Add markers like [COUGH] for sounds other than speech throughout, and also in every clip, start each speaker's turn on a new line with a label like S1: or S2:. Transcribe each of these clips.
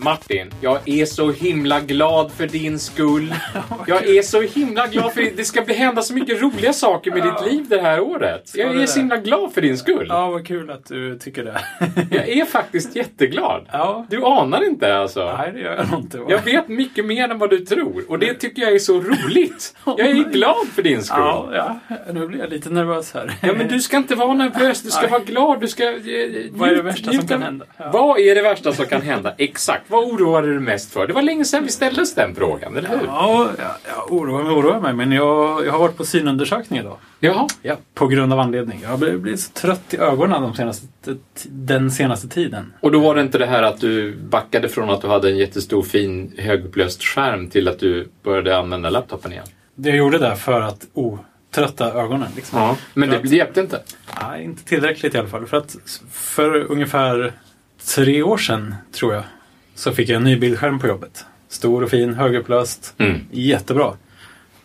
S1: Martin, jag är så himla glad för din skull. Jag är så himla glad för det ska bli- hända så mycket roliga saker med ditt liv det här året. Jag
S2: det
S1: är så
S2: där?
S1: himla glad för din skull.
S2: Ja, vad kul att du tycker det. [LAUGHS]
S1: Jag är faktiskt jätteglad.
S2: Ja.
S1: Du anar inte alltså.
S2: Nej, det gör jag nog inte. va?
S1: Jag vet mycket mer än vad du tror och det tycker jag är så roligt. Jag är glad för din skull.
S2: Ja, ja, nu blir jag lite nervös här.
S1: Ja, men du ska inte vara nervös, du ska
S2: Nej.
S1: vara glad, du ska... eh, njut-
S2: Vad är det värsta som
S1: njuta.
S2: kan hända? Ja.
S1: Vad är det värsta som kan hända? Exakt. Vad oroar du dig mest för? Det var länge sedan vi ställde oss den frågan, eller hur?
S2: [LAUGHS] Ja, jag, jag oroar mig, oroar mig, men jag, jag har varit på synundersökning idag.
S1: Jaha.
S2: Ja, på grund av anledning. Jag blir, blir så trött i ögonen de senaste, den senaste tiden.
S1: Och då var det inte det här att du backade från att du hade en jättestor fin högupplöst skärm till att du började använda laptopen igen?
S2: Det jag gjorde där för att otrötta ögonen. Liksom.
S1: Ja. Men det, det hjälpte inte?
S2: Nej, inte tillräckligt i alla fall. För att för ungefär tre år sedan, tror jag, så fick jag en ny bildskärm på jobbet. Stor och fin, högupplöst.
S1: Mm.
S2: Jättebra.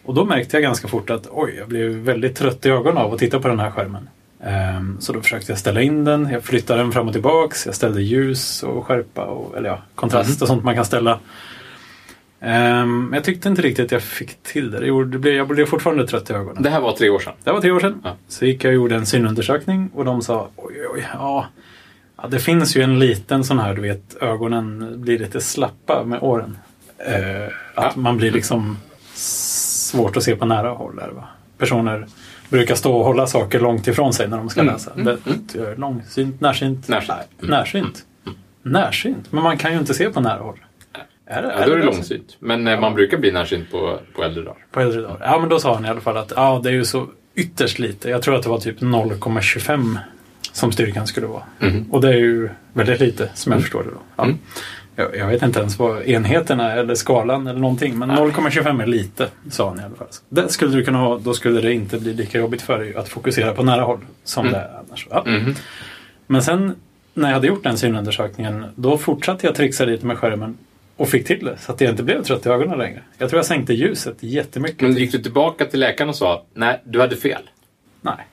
S2: Och då märkte jag ganska fort att oj, jag blev väldigt trött i ögonen av att titta på den här skärmen. Ehm, så då försökte jag ställa in den, jag flyttade den fram och tillbaks, jag ställde ljus och skärpa och eller ja, kontrast och sånt man kan ställa. Ehm, men jag tyckte inte riktigt att jag fick till det. det. gjorde- det blev- Jag blev fortfarande trött i ögonen.
S1: Det här var tre år sedan.
S2: Det var tre år sedan.
S1: Ja.
S2: Så gick jag och gjorde en synundersökning och de sa oj, oj, ja. ja. Det finns ju en liten sån här, du vet, ögonen blir lite slappa med åren. Eh, att
S1: Ja.
S2: man blir liksom svårt att se på nära håll. Där, va? Personer brukar stå och hålla saker långt ifrån sig när de ska
S1: Mm. Mm.
S2: läsa. Det, jag är långsynt, närsynt,
S1: Närsynt.
S2: Nej, närsynt. Närsynt, men man kan ju inte se på nära håll. Är det,
S1: Ja, då är det långsynt. Men eh, man brukar bli närsynt på, på äldre dagar.
S2: på äldre dagar. Ja, men då sa han i alla fall att ja, det är ju så ytterst lite. Jag tror att det var typ 0,25 som styrkan skulle vara.
S1: Mhm.
S2: Och det är ju väldigt lite som jag förstår det då. Ja.
S1: Mm.
S2: Jag, jag vet inte ens vad enheterna eller skalan eller någonting, men 0,25 är lite, sa han i alla fall. Det skulle du kunna ha, då skulle det inte bli lika jobbigt för dig att fokusera på nära håll som
S1: Mm.
S2: det är annars. Ja.
S1: Mhm.
S2: Men sen när jag hade gjort den synundersökningen, då fortsatte jag trixa lite med skärmen och fick till det så att jag inte blev trött i ögonen längre. Jag tror jag sänkte ljuset jättemycket.
S1: Men gick du tillbaka till läkaren och sa nej, du hade fel?
S2: Nej,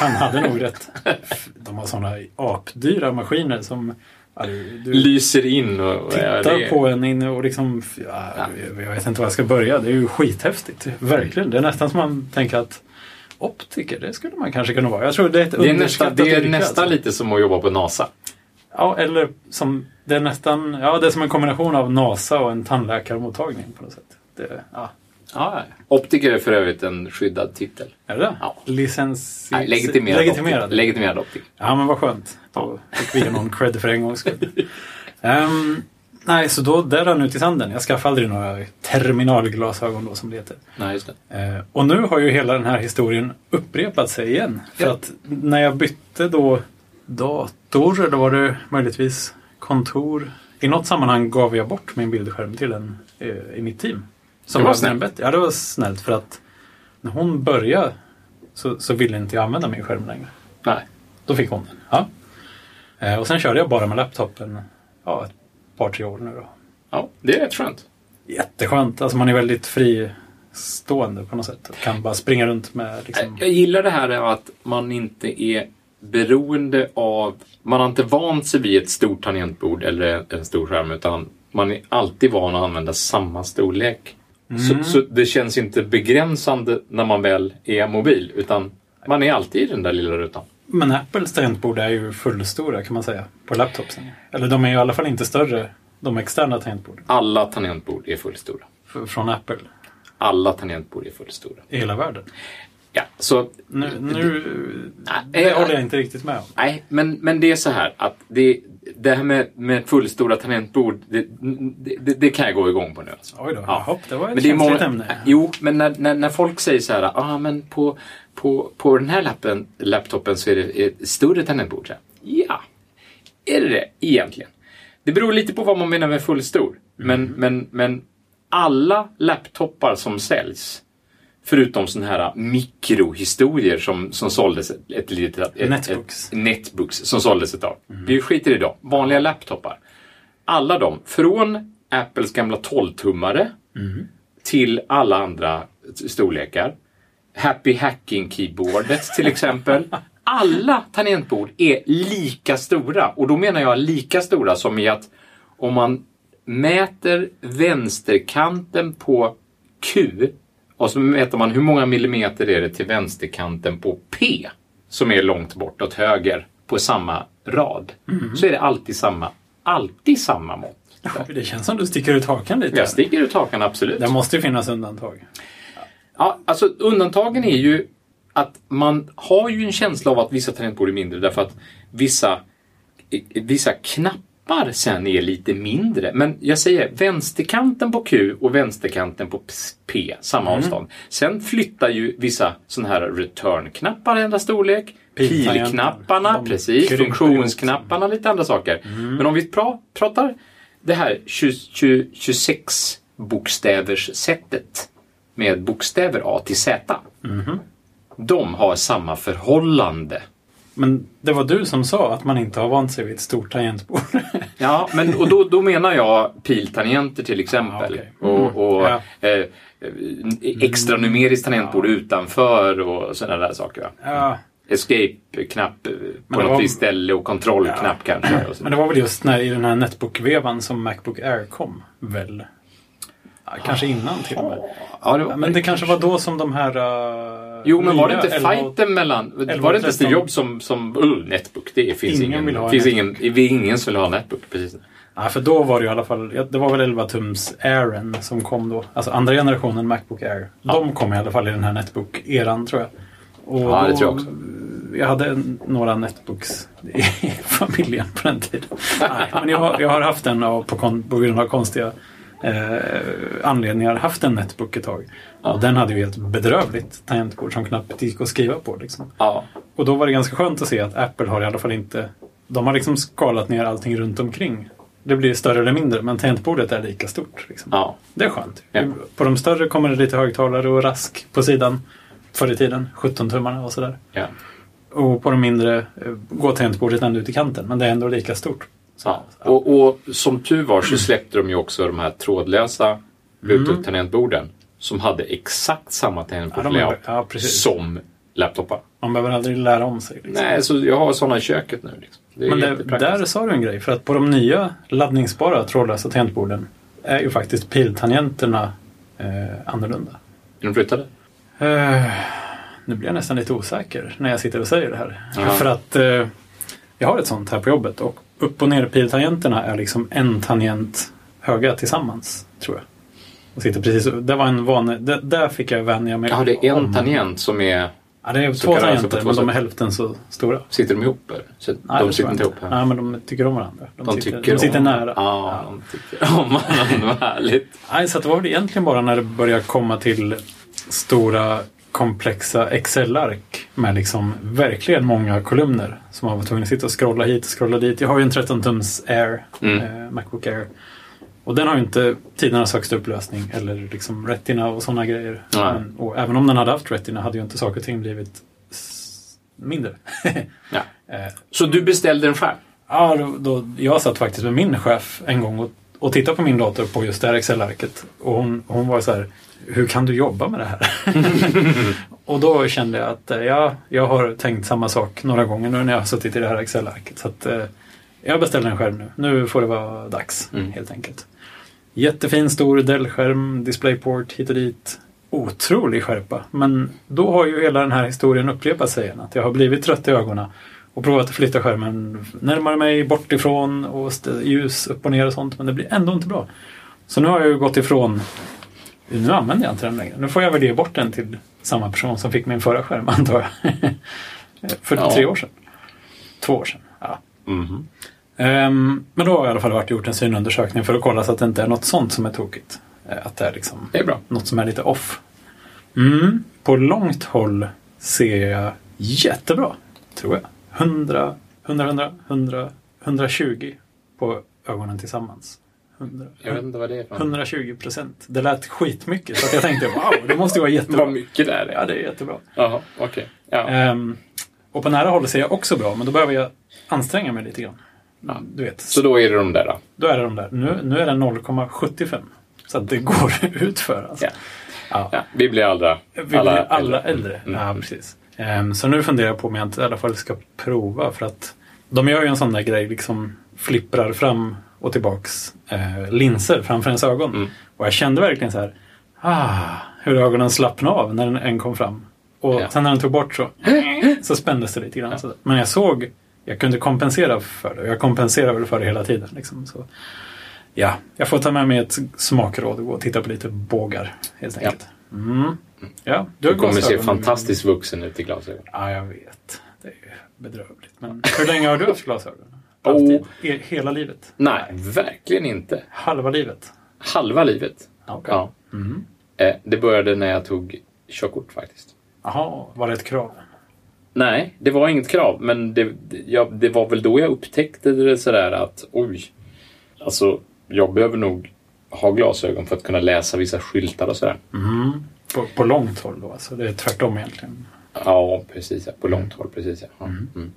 S2: han hade nog rätt. [LAUGHS] De har sådana apdyra maskiner som... ja, Du, du
S1: Lyser in och... ja,
S2: tittar
S1: det-
S2: på en in och liksom... Ja, jag vet inte var jag ska börja. Det är ju skithäftigt. Verkligen. Det är nästan som man tänker att optiker, det skulle man kanske kunna vara. Jag tror det är ett
S1: Det är, nästa,
S2: underskattat
S1: det är
S2: yrke,
S1: nästan
S2: alltså.
S1: lite som att jobba på NASA.
S2: Ja, eller som... Det är nästan... Ja, det är som en kombination av NASA och en tandläkarmottagning på något sätt. Det, ja. ja.
S1: Optiker är för övrigt en skyddad titel.
S2: Är det det?
S1: Ja.
S2: Licens...
S1: Nej, legitimerad,
S2: legitimerad.
S1: optiker. legitimerad optiker.
S2: Ja, men vad skönt. Då fick vi någon cred för en gångs skull. Ehm, nej, så då, där rann ut i sanden. Jag skaffade aldrig några terminalglasögon då, som det heter.
S1: Nej, just det.
S2: Eh, och nu har ju hela den här historien upprepat sig igen. För
S1: Ja.
S2: att när jag bytte då dator, eller var det möjligtvis kontor. I något sammanhang gav jag bort min bildskärm till en eh, i mitt team. Som
S1: Det var
S2: behövde
S1: snällt.
S2: en bättre. Ja, det var snällt. För att när hon började så, så ville inte jag använda min skärm längre.
S1: Nej.
S2: Då fick hon den. Ja. Eh, Och sen körde jag bara med laptopen ja, ett par, tre år nu. Då.
S1: Ja, det är rätt skönt.
S2: Jätteskönt. Alltså man är väldigt fristående på något sätt. Och kan bara springa runt med... Liksom...
S1: Jag gillar det här att man inte är beroende av... Man har inte vant sig vid ett stort tangentbord eller en stor skärm utan man är alltid van att använda samma storlek.
S2: Mm.
S1: Så, så det känns inte begränsande när man väl är mobil utan man är alltid i den där lilla rutan.
S2: Men Apples tangentbord är ju fullstora kan man säga på laptopsen. Eller de är ju i alla fall inte större, de externa tangentborden.
S1: Alla tangentbord är fullstora.
S2: f- Från Apple
S1: Alla tangentbord är fullstora.
S2: i hela världen.
S1: Ja, så...
S2: Nu, nu
S1: Nej,
S2: det håller jag inte riktigt med om.
S1: Nej, men, men det är så här att det, det här med, med fullstora tangentbord, det, det, det, det kan jag gå igång på nu. Alltså.
S2: Oj då,
S1: Ja.
S2: ja. det var ett
S1: Men det är
S2: känsligt
S1: många,
S2: ämne.
S1: Jo, men när, när, när folk säger så här, ah, men på, på, på den här lappen, laptopen så är det ett större tangentbord. Så här, ja, är det det egentligen? Det beror lite på vad man menar med fullstor. Men,
S2: Mm.
S1: men, men alla laptoppar som säljs, förutom sådana här mikrohistorier som, som såldes ett, ett litet... Ett,
S2: Netbooks. Mm.
S1: Ett, netbooks som såldes ett tag. Vi skiter i dem. Vanliga laptoppar. Alla de, från Apples gamla 12-tummare till alla andra storlekar. Happy Hacking-keyboardet till exempel. Alla tangentbord är lika stora och då menar jag lika stora som i att om man mäter vänsterkanten på Q och så mäter man hur många millimeter är det till vänsterkanten på P som är långt bort åt höger på samma rad. Så är det alltid samma, alltid samma mått.
S2: Det känns som du sticker ut hakan lite.
S1: Jag sticker ut hakan absolut.
S2: Det måste ju finnas undantag.
S1: Ja, alltså undantagen är ju att man har ju en känsla av att vissa tangentbord är mindre därför att vissa, i- vissa knappar sen är lite mindre. Men jag säger vänsterkanten på Q och vänsterkanten på P, samma
S2: Mm.
S1: avstånd. Sen flyttar ju vissa sådana här return-knappar ändra storlek.
S2: Piltangenter.
S1: Pilknapparna,
S2: De
S1: precis.
S2: krymper Mm. ihop.
S1: Funktionsknapparna, lite andra saker. Men om vi pra- pratar det här 26 bokstävers sättet med bokstäver A till Z.
S2: Mhm.
S1: De har samma förhållande.
S2: Men det var du som sa att man inte har vant sig vid ett stort tangentbord.
S1: Ja, men och då, då menar jag piltangenter till exempel.
S2: Ah, okej.
S1: Och, och
S2: Ja.
S1: eh, eh, extra numeriskt tangentbord utanför och sådana där saker. va?
S2: ja,
S1: Escape-knapp eh, på något
S2: det var-
S1: visst ställe och kontrollknapp kanske. Och så.
S2: men det var väl just när, i den här netbook-vevan som Macbook Air kom, väl? Ja, kanske innan till och med.
S1: ja, det var...
S2: Men det kanske var då som de här... eh,
S1: Jo, men var det
S2: nya
S1: inte
S2: 11
S1: fighten mellan... Var det inte Steve
S2: 13?
S1: Jobs som... som uh, netbook, det finns
S2: Ingen
S1: ingen.
S2: vill ha en
S1: finns ingen, vi är ingen som vill ha Netbook. Precis.
S2: Ja, för då var det ju i alla fall, ja, det var väl 11 tums Airen som kom då. Alltså andra generationen Macbook Air. De kom i alla fall i den här Netbook-eran tror jag. Och
S1: Ja, det
S2: då-
S1: tror jag också.
S2: Jag hade en- några Netbooks i [LAUGHS] familjen på den tiden. Nej, men jag, har- jag har haft en av, på, kon, på grund av konstiga eh, anledningar haft en Netbook ett tag. Och den hade ju ett bedrövligt tangentbord som knappt gick att skriva på. Liksom.
S1: Ja.
S2: Och då var det ganska skönt att se att Apple har i alla fall inte... De har liksom skalat ner allting runt omkring. Det blir större eller mindre, men tangentbordet är lika stort. Liksom.
S1: ja.
S2: Det är skönt.
S1: Ja.
S2: På de större kommer det lite högtalare och rask på sidan. Förr i tiden, 17-tummarna och sådär.
S1: ja.
S2: Och på de mindre eh, går tangentbordet ända ut i kanten, men det är ändå lika stort.
S1: Ja. Och, och som tur var så släppte de ju också de här trådlösa
S2: Mm.
S1: Bluetooth-tangentborden som hade exakt samma
S2: Ja, de är-
S1: tangentbord
S2: ja, precis.
S1: som laptopar.
S2: Man behöver aldrig lära om sig. Liksom.
S1: Nej, så jag har sådana i köket nu. Liksom. Det är
S2: Men det,
S1: jättepraktiskt.
S2: där sa du en grej, för att på de nya laddningsbara trådlösa tangentborden är ju faktiskt piltangenterna eh, annorlunda.
S1: Är de flyttade?
S2: Eh, nu blir jag nästan lite osäker när jag sitter och säger det här.
S1: Ja.
S2: För att eh, jag har ett sånt här på jobbet och upp och ner piltangenterna är liksom en tangent höga tillsammans, tror jag. Och sitter precis, det var en van, det, där fick jag vänja mig.
S1: Ja, det är
S2: om-
S1: en tangent som är...
S2: Ja, det är
S1: Så
S2: två
S1: kan det alltså
S2: tangenter,
S1: på två
S2: men de är
S1: sätt.
S2: hälften så stora.
S1: Sitter de ihop? eller? Så
S2: Nej, det
S1: de
S2: tror
S1: sitter
S2: jag
S1: inte ihop? här.
S2: Nej, men de tycker om varandra. De,
S1: De
S2: sitter,
S1: tycker,
S2: de sitter
S1: om,
S2: nära.
S1: Ja, de tycker om varandra. [LAUGHS] Vad härligt.
S2: Nej, så att det var väl egentligen bara när det började komma till stora komplexa Excel-ark med liksom verkligen många kolumner som man var tvungen att sitta och scrolla hit och scrolla dit. Jag har ju en 13-tums Air,
S1: Mm.
S2: eh, Macbook Air. Och den har ju inte tidernas högsta upplösning eller liksom Retina och sådana grejer.
S1: Nej.
S2: Men, och även om den hade haft Retina hade ju inte saker och ting blivit s- mindre. [LAUGHS]
S1: Ja.
S2: Eh,
S1: Så du beställde en skärm?
S2: Ja, då, då, jag satt faktiskt med min chef en gång och, och tittade på min dator på just det här Excel-arket. Och hon, hon var så här, hur kan du jobba med det här? [LAUGHS] och då kände jag att eh, ja, jag har tänkt samma sak några gånger nu när jag har suttit i det här Excel-arket. Så att, eh, jag beställer en skärm nu. Nu får det vara dags,
S1: Mm.
S2: helt enkelt. Jättefin stor Dell-skärm, DisplayPort hit och dit. Otrolig skärpa. Men då har ju hela den här historien upprepat sig igen. Att jag har blivit trött i ögonen och provat att flytta skärmen närmare mig, bort ifrån och st- ljus upp och ner och sånt. Men det blir ändå inte bra. Så nu har jag ju gått ifrån nu använder jag inte den längre. Nu får jag väl ge bort den till samma person som fick min förra skärm, [LAUGHS] antar jag. För
S1: Ja.
S2: tre år sedan. Två år sedan. Ja.
S1: Mhm.
S2: Ehm, men då har jag i alla fall varit och gjort en synundersökning för att kolla så att det inte är något sånt som är tokigt. Eh, Att det är liksom
S1: Det är bra.
S2: något som är lite off. Mm. På långt håll ser jag jättebra, tror jag. 100, 100, 100, 100, 120 på ögonen tillsammans. 100,
S1: Jag vet inte vad det är för
S2: 120 procent. Det lät skitmycket så att jag tänkte wow, det måste ju vara
S1: [LAUGHS]
S2: jättebra.
S1: Vad mycket det är.
S2: Ja, det är jättebra.
S1: Jaha, okej. Ja.
S2: Ehm, och på nära håll ser jag också bra, men då behöver jag anstränga mig lite grann.
S1: Ja.
S2: Du vet,
S1: Så då är det de där då?
S2: då är det de där. Nu, nu är det 0,75. Så att det går [LAUGHS] utför. Alltså.
S1: Ja. Ja. Vi blir alla, Mm.
S2: Vi blir alla, äldre. Ja, precis. Ehm, så nu funderar jag på om jag inte i alla fall ska prova för att de gör ju en sån där grej, liksom flipprar fram och tillbaks eh, linser framför ens ögon.
S1: Mm.
S2: Och jag kände verkligen så här, ah, hur ögonen slappnade av när den en kom fram. Och
S1: Ja.
S2: sen när den tog
S1: [LAUGHS]
S2: bort så, så spändes det lite grann.
S1: Ja.
S2: Så där. Men jag såg, jag kunde kompensera för det. Jag kompenserade väl för det hela tiden. Liksom. Så, ja, jag får ta med mig ett smakråd och gå och titta på lite bågar helt
S1: Ja.
S2: enkelt. Mm. Ja, du har
S1: Du kommer se
S2: glasögon.
S1: fantastiskt vuxen ut i glasögon.
S2: Ja, jag vet. Det är ju bedrövligt. Men hur länge har du haft glasögon?
S1: [LAUGHS] Oh.
S2: Alltid? E- hela livet?
S1: Nej, verkligen inte.
S2: Halva livet?
S1: Halva livet.
S2: Okay.
S1: Ja.
S2: Mm.
S1: Eh, Det började när jag tog körkort faktiskt.
S2: Jaha, var det ett krav?
S1: Nej, det var inget krav, men det, det- ja, det var väl då jag upptäckte det sådär att oj, alltså jag behöver nog ha glasögon för att kunna läsa vissa skyltar och sådär.
S2: Mm. På, på långt håll då alltså? Det är tvärtom egentligen.
S1: Ja, precis. ja. På långt håll, precis. Ja. Ja, Mm.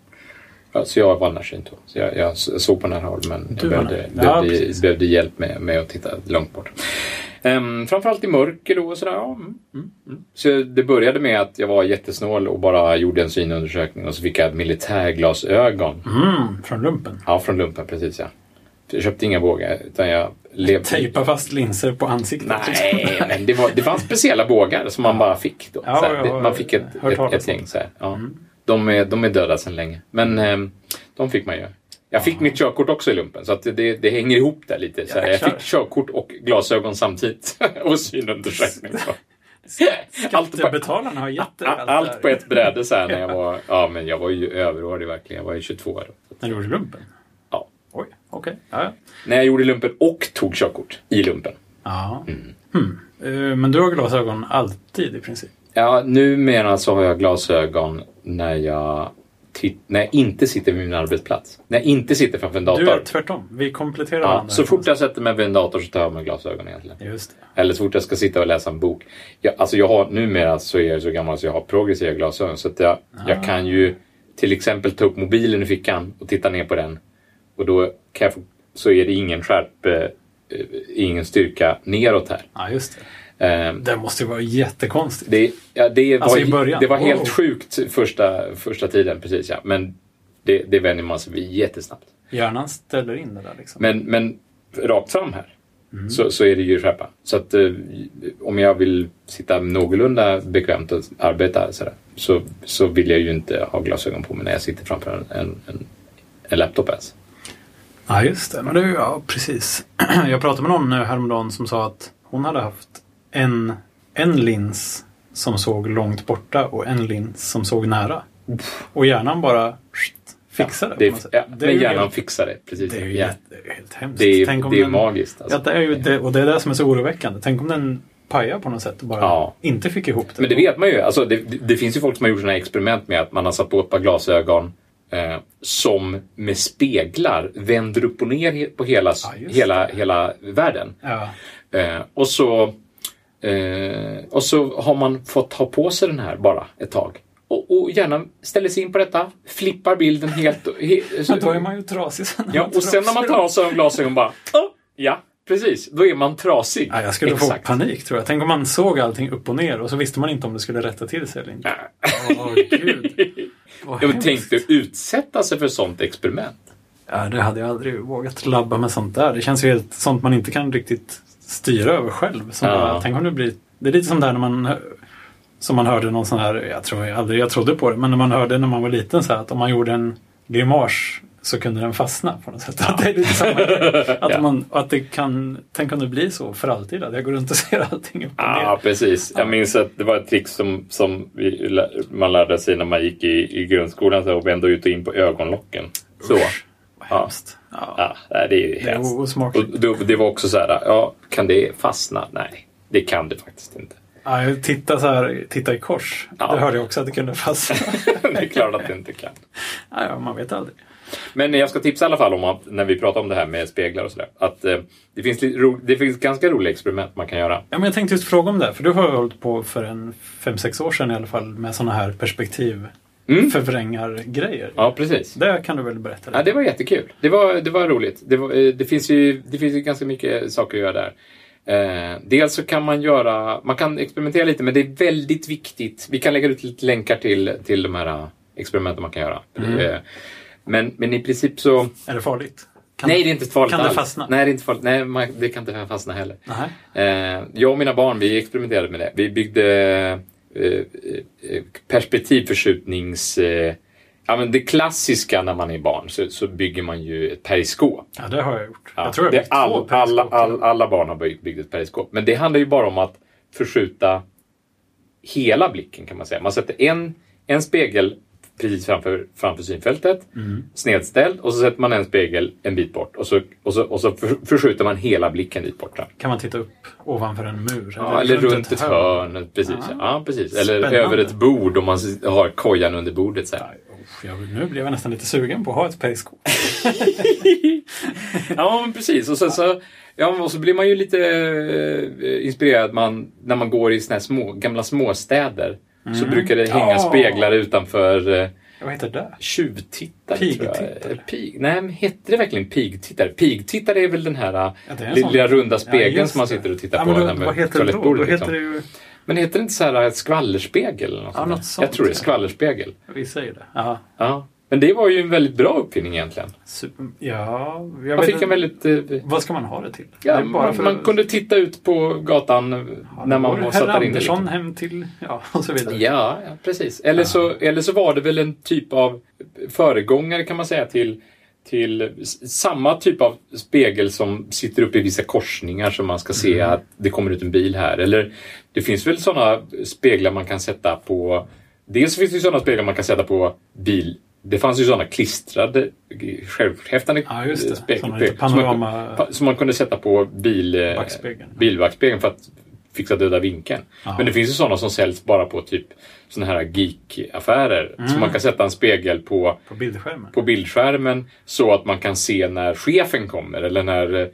S1: Ja, så jag var närsynt då. Så jag, jag s- såg på nära håll, men
S2: Du
S1: jag
S2: var
S1: behövde,
S2: närsynt. Ja,
S1: behövde,
S2: precis.
S1: behövde hjälp med, med att titta långt bort. Ehm, framförallt i mörker då och sådär. Ja, mm, mm, mm. Så det började med att jag var jättesnål och bara gjorde en synundersökning och så fick jag militärglasögon.
S2: Mm, från lumpen.
S1: Ja, från lumpen, precis ja. Jag köpte inga bågar, utan jag levde...
S2: Tejpa fast linser på ansiktet. [LAUGHS] liksom.
S1: Nej, men det, var, det [LAUGHS] fanns speciella bågar som man bara fick då.
S2: Ja,
S1: så här,
S2: jag
S1: det,
S2: har
S1: man fick ett,
S2: hört
S1: ett,
S2: talas
S1: ett
S2: om Mm.
S1: gäng så här. Ja. De, är, de är döda sedan länge, men ehm, de fick man ju. Jag fick mitt körkort också i lumpen, så att det, det hänger ihop där lite. Så här. Jag
S2: Jäklar.
S1: fick körkort och glasögon samtidigt [LAUGHS] och synundersökning.
S2: [LAUGHS]
S1: Så. Allt på,
S2: Skattebetalarna har gett dig
S1: a-
S2: det
S1: allt
S2: här.
S1: på ett bräde så
S2: [LAUGHS]
S1: här när jag var... Ja, men jag var ju överårig verkligen. Jag var ju 22 år.
S2: När du gjorde lumpen?
S1: Ja.
S2: Oj, okej. Ja, ja.
S1: När jag gjorde lumpen och tog körkort i lumpen.
S2: Ja.
S1: Mm.
S2: Hmm. Eh, Men du har glasögon alltid i princip?
S1: Ja, numera så har jag glasögon när jag, tit- när jag inte sitter vid min arbetsplats. När jag inte sitter framför en
S2: Du är
S1: dator.
S2: tvärtom. Vi kompletterar
S1: Ja,
S2: varandra.
S1: så fort jag sätter mig vid en dator så tar jag av mig glasögon egentligen.
S2: Just det.
S1: Eller så fort jag ska sitta och läsa en bok. Jag, alltså jag har, numera så är jag så gammal så jag har progressiva glasögon. Så att jag,
S2: Ah.
S1: jag kan ju till exempel ta upp mobilen i fickan och titta ner på den. Och då kan jag få, så är det ingen skärp, eh, eh, ingen styrka neråt här.
S2: Ja, just det.
S1: Ehm,
S2: Det måste ju vara jättekonstigt.
S1: Det, ja, det,
S2: Alltså
S1: var,
S2: i början.
S1: det var
S2: Wow.
S1: helt sjukt första, första tiden, precis ja. Men det, det vänjer man sig vid jättesnabbt.
S2: Hjärnan ställer in det där liksom.
S1: Men, men rakt fram här
S2: Mm.
S1: så, så är det ju skärpa. Så att eh, om jag vill sitta någorlunda bekvämt och arbeta sådär, så, så vill jag ju inte ha glasögon på mig när jag sitter framför en, en, en, en laptop ens.
S2: Ja, just det. Men det är ju- ja, precis. [CLEARS THROAT] Jag pratade med någon nu häromdagen som sa att hon hade haft en, en lins som såg långt borta och en lins som såg nära. Och hjärnan bara skit, fixade
S1: Det,
S2: på något sätt.
S1: ja,
S2: är
S1: men
S2: ju
S1: hjärnan
S2: helt,
S1: fixar det, precis.
S2: det är ju
S1: ja.
S2: jätte- det är ju helt hemskt.
S1: det är,
S2: Tänk om
S1: det är
S2: den,
S1: magiskt.
S2: ja,
S1: Alltså.
S2: det är ju det, och det är det som är så oroväckande. Tänk om den pajar på något sätt och bara
S1: Ja.
S2: inte fick ihop det.
S1: Men det vet man ju. Alltså, det, det- det finns ju folk som har gjort såna här experiment med att man har satt på ett par glasögon eh, som med speglar vänder upp och ner he- på hela, s-
S2: Ja, just
S1: hela, hela världen.
S2: Ja.
S1: Eh, och, så, eh, och så har man fått ha på sig den här bara ett tag. Och, och gärna ställer sig in på detta, flippar bilden helt. och- he-
S2: Men [LAUGHS] då är man ju trasig sen.
S1: ja, och sen när man tar av sig de glasögonen bara... "Åh, ja, precis. Då är man trasig.
S2: Ja, jag skulle få panik tror jag. Tänk om man såg allting upp och ner och så visste man inte om det skulle rätta till sig eller inte. Åh,
S1: [LAUGHS]
S2: gud. Vad
S1: Jag
S2: hemskt.
S1: tänkte utsätta sig för sånt experiment.
S2: Ja, det hade jag aldrig vågat labba med sånt där. Det känns ju helt sånt man inte kan riktigt styra över själv. Som
S1: Ja.
S2: bara, tänk om det blir... Det är lite som där när man hö- som man hörde någon sån här, jag tror jag aldrig jag trodde på det, men när man hörde när man var liten så här att om man gjorde en grimas så kunde den fastna på något sätt. Att det är lite
S1: [LAUGHS]
S2: samma grej. Att,
S1: Ja.
S2: man, att det kan, tänk om det blir så för alltid, att jag går runt och ser allting upp och ner.
S1: Ja, Ah, precis. Jag minns att det var ett trick som, som vi, lä- man lärde sig när man gick i, i grundskolan så här, och vände ut och in på ögonlocken. Så.
S2: Vad
S1: Ja.
S2: hemskt. Ja.
S1: Ja, nej, det är ju
S2: Det är
S1: hemskt.
S2: osmakligt.
S1: Och det, det var också så här, ja, kan det fastna? Nej, det kan det faktiskt inte. [LAUGHS]
S2: Ja, jag titta, så här, titta i kors.
S1: Ja.
S2: Det hörde jag också att det
S1: [LAUGHS]
S2: kunde fastna.
S1: det är klart att det inte kan.
S2: ja, ja, man vet aldrig.
S1: Men jag ska tipsa i alla fall om att när vi pratar om det här med speglar och sådär, att eh, det, finns lite ro, det finns ganska roliga experiment man kan göra.
S2: Ja, men jag tänkte just fråga om det, här, för du har ju hållit på för en fem sex år sedan i alla fall med sådana här perspektiv
S1: Mm.
S2: förvrängargrejer.
S1: Ja, precis.
S2: Det kan du väl berätta lite?
S1: Ja, det var jättekul. Det var, det var roligt. Det, var, eh, det, finns ju, det finns ju ganska mycket saker att göra där. Eh, dels så kan man göra, man kan experimentera lite, men det är väldigt viktigt. Vi kan lägga ut lite länkar till, till
S2: Mm.
S1: de här eh, experimenten man kan göra. Eh, men, men i princip så,
S2: Är det farligt? Kan
S1: Nej, det är inte farligt
S2: kan det
S1: alls.
S2: fastna?
S1: Nej, det är inte farligt. Nej, man, det kan inte fastna heller.
S2: Nej.
S1: Eh, jag och mina barn, vi experimenterade med det. Vi byggde eh, eh, perspektivförskjutnings... Eh, ja, men det klassiska när man är barn så, så bygger man ju ett periskop.
S2: Ja, det har jag gjort.
S1: Ja,
S2: jag tror jag
S1: det
S2: har
S1: är
S2: byggt två
S1: all, alla,
S2: periskop.
S1: all, alla barn har byggt byggt ett periskop. Men det handlar ju bara om att förskjuta hela blicken kan man säga. Man sätter en, en spegel precis framför, framför synfältet,
S2: Mm.
S1: snedställd, och så sätter man en spegel en bit bort och så, och så, och så för, förskjuter man hela blicken dit borta.
S2: Kan man titta upp ovanför en mur?
S1: Ja, eller runt ett hörn. Precis.
S2: Ah.
S1: Ja, precis. Eller
S2: Spännande.
S1: över ett bord om man s- har kojan under bordet. Så här.
S2: Ja, usch, jag, nu blev jag nästan lite sugen på att ha ett periskop.
S1: [LAUGHS] Ja, men precis. Och, sen så, ja, och så blir man ju lite eh, inspirerad man, när man går i såna här små, gamla småstäder. Så brukar det hänga
S2: Mm. Ja.
S1: speglar utanför eh,
S2: Vad heter det? där?
S1: tjuvtittare. tror jag.
S2: Pigtittare.
S1: Eh, Pig, nej, men heter det verkligen pigtittare? Pigtittare är väl den här eh,
S2: Ja, det är en sån-
S1: lilla runda spegeln
S2: Ja, just
S1: som man
S2: det.
S1: sitter och tittar
S2: ja,
S1: på
S2: men
S1: när
S2: då,
S1: man-
S2: Vad heter det då?
S1: toalettbordet,
S2: Då heter
S1: liksom.
S2: det ju...
S1: Men heter det inte så här eh, skvallerspegel? Eller något
S2: Ja,
S1: sånt där?
S2: något sånt,
S1: Jag tror det är
S2: ja.
S1: skvallerspegel.
S2: Vi säger det. Ja,
S1: Ja. Men det var ju en väldigt bra uppfinning egentligen.
S2: super... ja jag
S1: Man
S2: vet
S1: fick en
S2: inte.
S1: väldigt... eh,
S2: Vad ska man ha det till? Det
S1: Ja,
S2: är
S1: man, man kunde titta ut på gatan
S2: Ja,
S1: när
S2: då
S1: man
S2: går
S1: var-
S2: herr
S1: satte in det.
S2: Andersson
S1: lite.
S2: hem till... Ja, [LAUGHS] och så vidare.
S1: Ja, ja, precis. Eller, Så, eller så var det väl en typ av föregångare kan man säga till, till s- samma typ av spegel som sitter uppe i vissa korsningar som man ska se
S2: Mm.
S1: att det kommer ut en bil här. Eller det finns väl sådana speglar man kan sätta på... Dels finns det ju sådana speglar man kan sätta på bil. Det fanns ju sådana klistrade, eh, självhäftande
S2: Ja, just det.
S1: spegel-
S2: Såna lite
S1: som man-
S2: panorama...
S1: Pa- Som man kunde sätta på bil, eh,
S2: Backspegeln.
S1: bilbackspegeln för att fixa döda vinkeln.
S2: Ja.
S1: Men det finns ju sådana som säljs bara på typ sådana här geek-affärer.
S2: Mm.
S1: Så man kan sätta en spegel på,
S2: På bildskärmen.
S1: på bildskärmen så att man kan se när chefen kommer eller när... eh,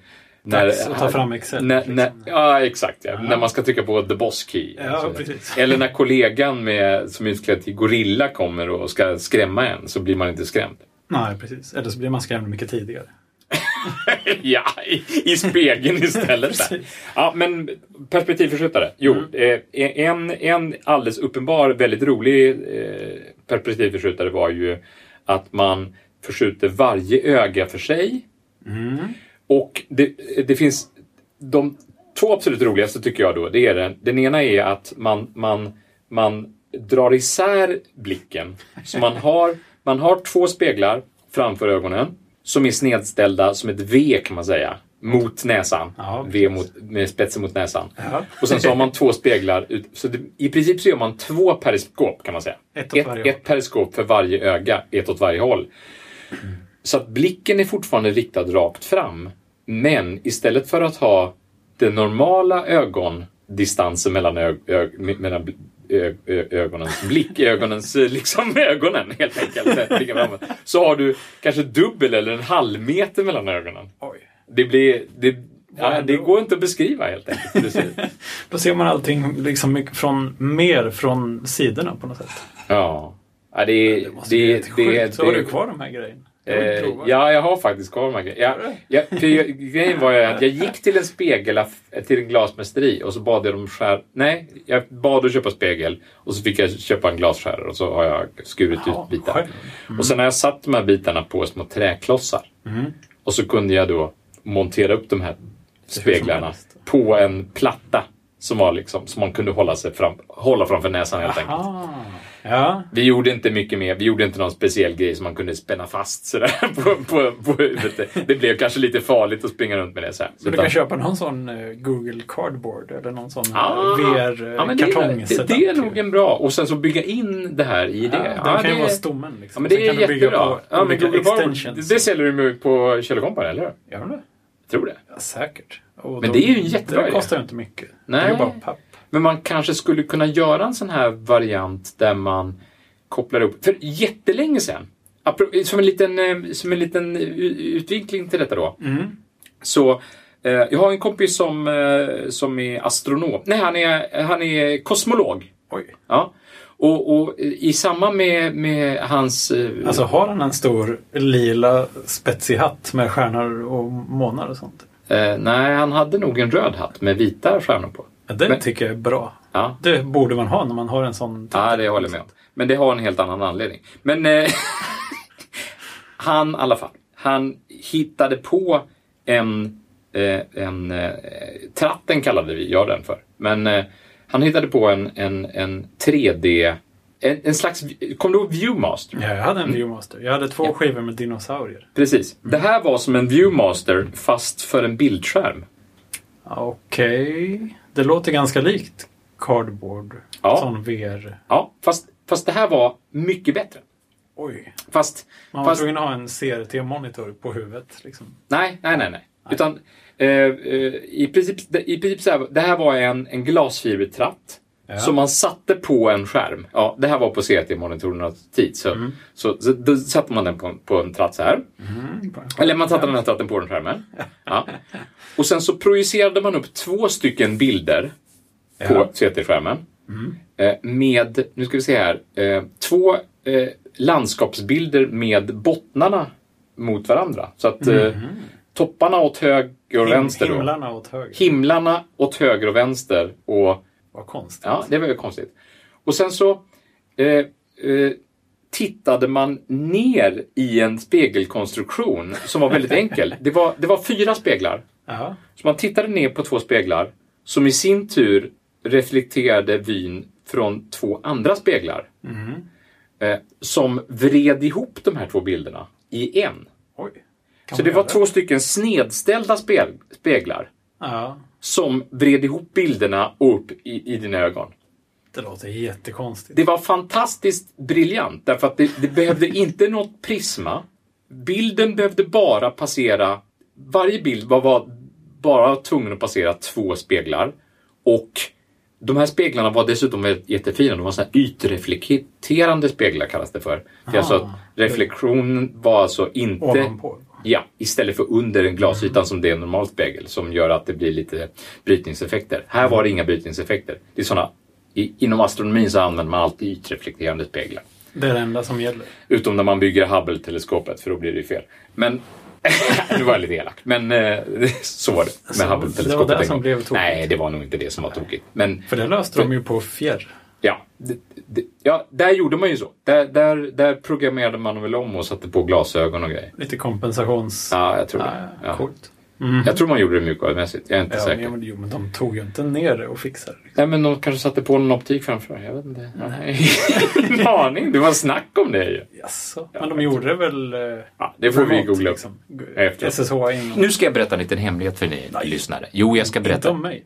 S1: När,
S2: Dags att ta fram Excel.
S1: när,
S2: liksom.
S1: när, ja, exakt. Ja. När man ska trycka på the boss key.
S2: Ja,
S1: Alltså.
S2: precis.
S1: Eller när kollegan med, som är utklädd till gorilla kommer och ska skrämma en så blir man inte skrämd.
S2: Nej, precis. Eller så blir man skrämd mycket tidigare.
S1: [LAUGHS] Ja, i, i spegeln istället. där. ja, men perspektivförskjutare. Jo, eh, en, en alldeles uppenbar väldigt rolig eh, perspektivförskjutare var ju att man förskjuter varje öga för sig. Och det, det finns de två absolut roligaste tycker jag då. Det är den, den ena är att man, man, man drar isär blicken. Så man har, man har två speglar framför ögonen som är snedställda som ett V kan man säga. Mot näsan.
S2: Ja,
S1: v mot, med spetsen mot näsan.
S2: Ja.
S1: Och sen så har man två speglar. Ut, så det, I princip så gör man två periskop kan man säga.
S2: Ett åt
S1: ett,
S2: varje håll.
S1: ett periskop för varje öga, ett åt varje håll. Så att blicken är fortfarande riktad rakt fram. Men istället för att ha den normala ögondistansen mellan, ö- ö- me- mellan bl- ö- ö- ögonens blick, [LAUGHS] ögonens, eh, liksom ögonen helt enkelt, blicken framåt, så har du kanske dubbel eller en halv meter mellan ögonen.
S2: Oj.
S1: Det blir... Det, ja,
S2: händer
S1: det
S2: då?
S1: går inte att beskriva helt enkelt. hur det ser ut.
S2: Då ser man allting liksom mycket från, mer från sidorna på något sätt.
S1: Ja. ja det, är- det,
S2: helt
S1: det,
S2: sjukt.
S1: det,
S2: Så har du kvar de här grejerna? Jag vill
S1: Eh,
S2: prova.
S1: ja, jag har faktiskt kvar de här grejerna.
S2: Har
S1: Jag, jag, för jag, grejen var ju att jag gick till en spegelaff- till en glasmästeri och så bad jag dem skär... Nej, jag bad att köpa spegel och så fick jag köpa en glasskärare och så har jag skurit
S2: Ja,
S1: ut bitar.
S2: själv.
S1: Och sen har jag satt de här bitarna på små träklossar.
S2: Mm.
S1: Och så kunde jag då montera upp de här speglarna
S2: helst.
S1: på en platta som, var liksom, som man kunde hålla, sig fram, hålla framför näsan helt enkelt.
S2: Ah. Ja,
S1: Vi gjorde inte mycket mer. Vi gjorde inte någon speciell grej som man kunde spänna fast sådär [LAUGHS] på, på, på huvudet. Det blev kanske lite farligt att springa runt med det så här.
S2: så du kan köpa någon sån eh, Google Cardboard eller någon sån eh,
S1: Ah. ja, men det,
S2: VR-kartong.
S1: är- det, det är nog en bra. Och sen så bygga in det här i det.
S2: Ja, den
S1: Ja,
S2: kan ju
S1: det-
S2: vara stommen. Liksom.
S1: Ja, men det
S2: Sen
S1: är
S2: kan du bygga
S1: jättebra.
S2: på
S1: Ja, men
S2: olika
S1: Google Bar,
S2: extensions.
S1: det, det säljer du ju på Kjell Company, eller hur?
S2: Gör de det?
S1: Jag tror det.
S2: Ja, säkert. Och
S1: Men
S2: då-
S1: det är ju en jättebra
S2: Det
S1: idé.
S2: kostar ju inte mycket. Det är
S1: Nej.
S2: ju bara papp.
S1: Men man kanske skulle kunna göra en sån här variant där man kopplar upp... För jättelänge sedan, apro- som en liten, eh, som en liten eh, utvinkling till detta då. Så eh, jag har en kompis som, eh, som är astronom. Nej, han är, han är kosmolog.
S2: Oj.
S1: Ja. Och, och eh, i samband med, med hans... eh,
S2: Alltså har han en stor lila spetsig hatt med stjärnor och månar och sånt?
S1: eh, nej, han hade nog en röd hatt med vita stjärnor på.
S2: Ja, det
S1: Men-
S2: tycker jag är bra.
S1: Ja.
S2: Det borde man ha när man har en sån typ. titel.
S1: Ja, det håller jag med om. Men det har en helt annan anledning. Men eh, [LAUGHS] han i alla fall. Han hittade på en, eh, en eh, tratten kallade vi jag den för. Men eh, han hittade på en, en, en 3D, en, en slags, kommer du ihåg Viewmaster?
S2: Ja, jag
S1: Mm.
S2: hade en Viewmaster. Jag hade två skivor med dinosaurier.
S1: Precis. Det här var som en Viewmaster fast för en bildskärm.
S2: Okej. Det låter ganska likt Cardboard.
S1: Ja.
S2: Sån VR...
S1: Ja, fast, fast det här var mycket bättre.
S2: Oj.
S1: Fast,
S2: Man var
S1: fast
S2: tvungen att ha en CRT-monitor på huvudet. Liksom.
S1: nej, nej, nej, nej. Utan eh, eh, i princip, i princip så här, det här var en, en glasfibertratt
S2: Ja.
S1: som man satte på en skärm. Ja, det här var på CRT-monitorernas tid. Så, så, så då satte man den på, en- på en tratt så här.
S2: Mm, på en skärm.
S1: Eller man satte den här tratten på den skärmen. Ja. Och sen så projicerade man upp två stycken bilder på
S2: Ja.
S1: CT-skärmen. Eh, Med, nu ska vi se här, eh, två eh, landskapsbilder med bottnarna mot varandra. Så att eh, topparna åt höger och vänster. Då.
S2: Himlarna åt höger.
S1: Himlarna åt höger och vänster. Och
S2: Vad konstigt.
S1: Ja, det var ju konstigt. Och sen så eh, eh, tittade man ner i en spegelkonstruktion som var väldigt enkel. Det var, det var fyra speglar.
S2: Ja.
S1: Så man tittade ner på två speglar som i sin tur reflekterade vyn från två andra speglar. Eh, som vred ihop de här två bilderna i en.
S2: Oj. Kan
S1: Så
S2: man
S1: det var
S2: göra
S1: två stycken snedställda speg- speglar
S2: Ja.
S1: som vred ihop bilderna och upp i, i dina ögon.
S2: Det låter jättekonstigt.
S1: Det var fantastiskt briljant därför att det, det behövde inte något prisma. Bilden behövde bara passera, varje bild var, var bara tvungen att passera två speglar. Och de här speglarna var dessutom väldigt jättefina. De var såna här ytreflekterande speglar kallas det för. Det är alltså att
S2: Ah.
S1: reflektionen var alltså inte...
S2: Ovanpå.
S1: Ja, istället för under en glasytan som det är en normal spegel som gör att det blir lite brytningseffekter. Här var det inga brytningseffekter. Det är såna, i, inom astronomin så använder man alltid ytreflekterande speglar.
S2: Det är det enda som gäller.
S1: Utom när man bygger Hubble-teleskopet, för då blir det ju fel. Men, [LAUGHS] nu var jag lite elak, men eh, [LAUGHS] så var det
S2: Så
S1: med
S2: det var
S1: Hubble-teleskopet.
S2: det
S1: en
S2: som
S1: gång.
S2: blev tokigt.
S1: Nej, det var nog inte det som var tokigt. Men
S2: För det löste de ju på fjärr.
S1: Ja, det, det, ja, där gjorde man ju så. Där, där, där programmerade man väl om och satte på glasögon och grejer.
S2: Lite kompensations...
S1: Ja, jag tror
S2: Ja,
S1: det. Ja.
S2: Coolt.
S1: Jag tror man gjorde det mjukvarumässigt, Mm. jag är inte
S2: Ja,
S1: säker.
S2: men, jo, men de tog ju inte ner det och fixade det.
S1: Nej, men de kanske satte på någon optik framför. Jag vet inte. Nej. [LAUGHS] Ingen aning. Det var snack om det ju.
S2: Jaså? Men de gjorde det väl... eh,
S1: Ja, det får vi
S2: remote,
S1: googla upp.
S2: liksom.
S1: efteråt.
S2: SSH in.
S1: Nu ska jag berätta en liten hemlighet för ni lyssnare. Jo, jag ska
S2: Inte
S1: berätta.
S2: om mig.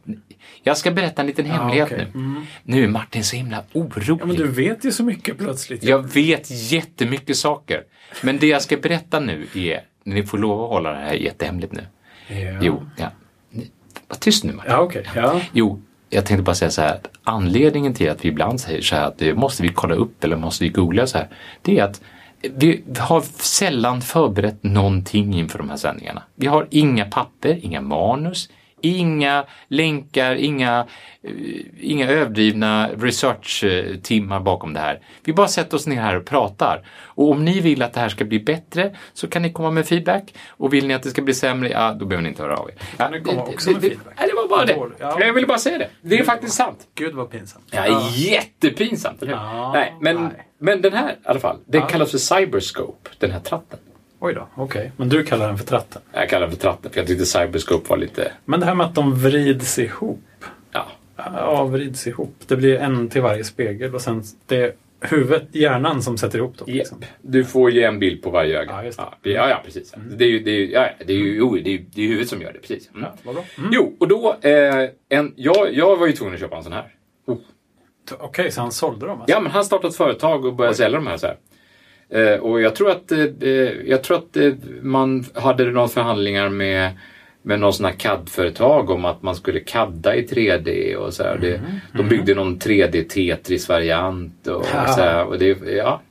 S1: Jag ska berätta en liten hemlighet
S2: okej.
S1: nu. Nu är Martin så himla orolig.
S2: Ja, men du vet ju så mycket plötsligt.
S1: Jag vet jättemycket saker. Men det jag ska berätta nu är, ni får lov att hålla det här jättehemligt nu.
S2: Ja.
S1: Jo, ja. Ni- Var tyst nu Martin.
S2: Ja, okej. Ja.
S1: Jo, jag tänkte bara säga så här. att Anledningen till att vi ibland säger så här att det måste vi kolla upp eller måste vi googla så här. Det är att vi har sällan förberett någonting inför de här sändningarna. Vi har inga papper, inga manus, inga länkar, inga, eh, inga överdrivna research-timmar bakom det här. Vi bara sätter oss ner här och pratar. Och om ni vill att det här ska bli bättre så kan ni komma med feedback. Och vill ni att det ska bli sämre, ja, då behöver ni inte höra av er. Ja,
S2: ni komma
S1: det-
S2: också med
S1: det-
S2: feedback?
S1: Nej, det var bara det.
S2: Dålig, ja.
S1: Jag ville bara säga det. Det är faktiskt sant.
S2: Gud vad pinsamt.
S1: Ja, Jättepinsamt, eller hur?
S2: Ja,
S1: nej, men,
S2: nej.
S1: men den här i alla fall. Den kallas för Cyberscope, den här tratten.
S2: Oj då, okej. Men du kallar den för tratten.
S1: Jag kallar den för tratten för jag tyckte Cyberscope var lite...
S2: Men det här med att de vrids ihop.
S1: Ja,
S2: Avrids ihop. Det blir en till varje spegel och sen det är huvudet, hjärnan som sätter ihop dem. liksom.
S1: Japp. Du får ju en bild på varje öga.
S2: Ja, just det.
S1: ja, det- ja, ja, precis. Det är ju, det är ju, ja, ja, det är ju, jo, det är, ju- det är ju huvudet som gör det. Precis. Mm.
S2: Ja, vad bra.
S1: Jo, och då... Eh, en, jag, jag var ju tvungen att köpa en sån här. Oh.
S2: T- Okej, så han sålde dem alltså?
S1: Ja, men han startade ett företag och började sälja de här så här. Eh, och jag tror att, eh, eh, jag tror att eh, man hade några förhandlingar med, med någon sån här CAD-företag om att man skulle CADda i 3D och så här. Det, De byggde någon 3D-Tetris-variant och,
S2: Ja.
S1: så här. Och det, ja.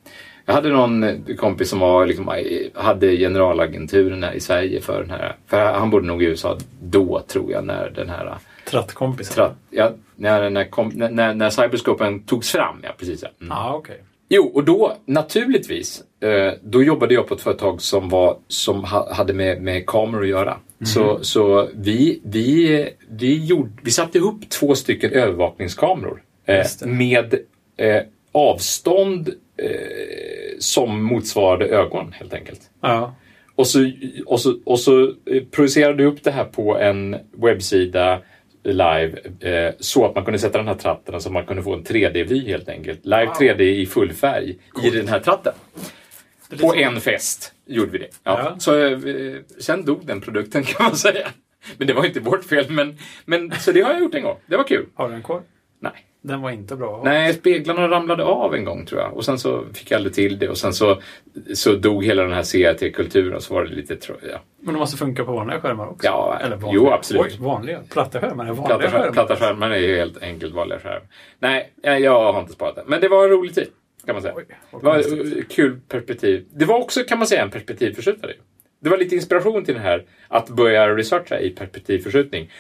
S1: Jag hade någon kompis som var, liksom, eh, hade generalagenturen här i Sverige för den här. För han bodde nog i USA då, tror jag, när den här eh,
S2: Trattkompisar?
S1: tratt, ja, när, när, kom, när- när, när cyberscopen togs fram. Ja, precis. Ja. Mm.
S2: Ja, ah, okej.
S1: Jo, och då naturligtvis, eh, då jobbade jag på ett företag som, var, som ha, hade med, med kameror att göra.
S2: Mhm.
S1: Så, så vi, vi, vi, gjorde, vi satte ihop två stycken övervakningskameror eh,
S2: Just det.
S1: med eh, avstånd eh, som motsvarade ögon helt enkelt.
S2: Ja.
S1: Och så, och, så, och så eh, projicerade du upp det här på en webbsida live eh, så att man kunde sätta den här tratten och så man kunde få en 3D-vy helt enkelt. Live 3D i full färg i den här tratten.
S2: Det är
S1: På
S2: liksom-
S1: en fest gjorde vi det. Ja.
S2: Ja.
S1: Så, eh, sen dog den produkten [LAUGHS] kan man säga. Men det var inte vårt fel. Men, men, så det har jag gjort en gång. Det var kul.
S2: Har du den kvar?
S1: Nej.
S2: Den var inte bra.
S1: Nej, speglarna ramlade av en gång tror jag. Och sen så fick jag aldrig till det. Och sen så, så dog hela den här CRT-kulturen. Så var det lite tro- ja.
S2: Men de måste funka på vanliga skärmar också?
S1: Ja,
S2: Eller vanliga.
S1: jo, absolut.
S2: Oj, vanliga. Platta skärmar är vanliga
S1: Platta, skär-
S2: skärmar.
S1: platta skärmar är ju helt enkelt vanliga skärmar. Nej, jag- jag har inte sparat det. Men det var en rolig tid, kan man säga.
S2: Oj, vad
S1: det var [LAUGHS]
S2: konstigt.
S1: ett kul perspektiv. Det var också, kan man säga, en perspektivförskjutare. Det var lite inspiration till det här, att börja researcha i perspektivförskjutning.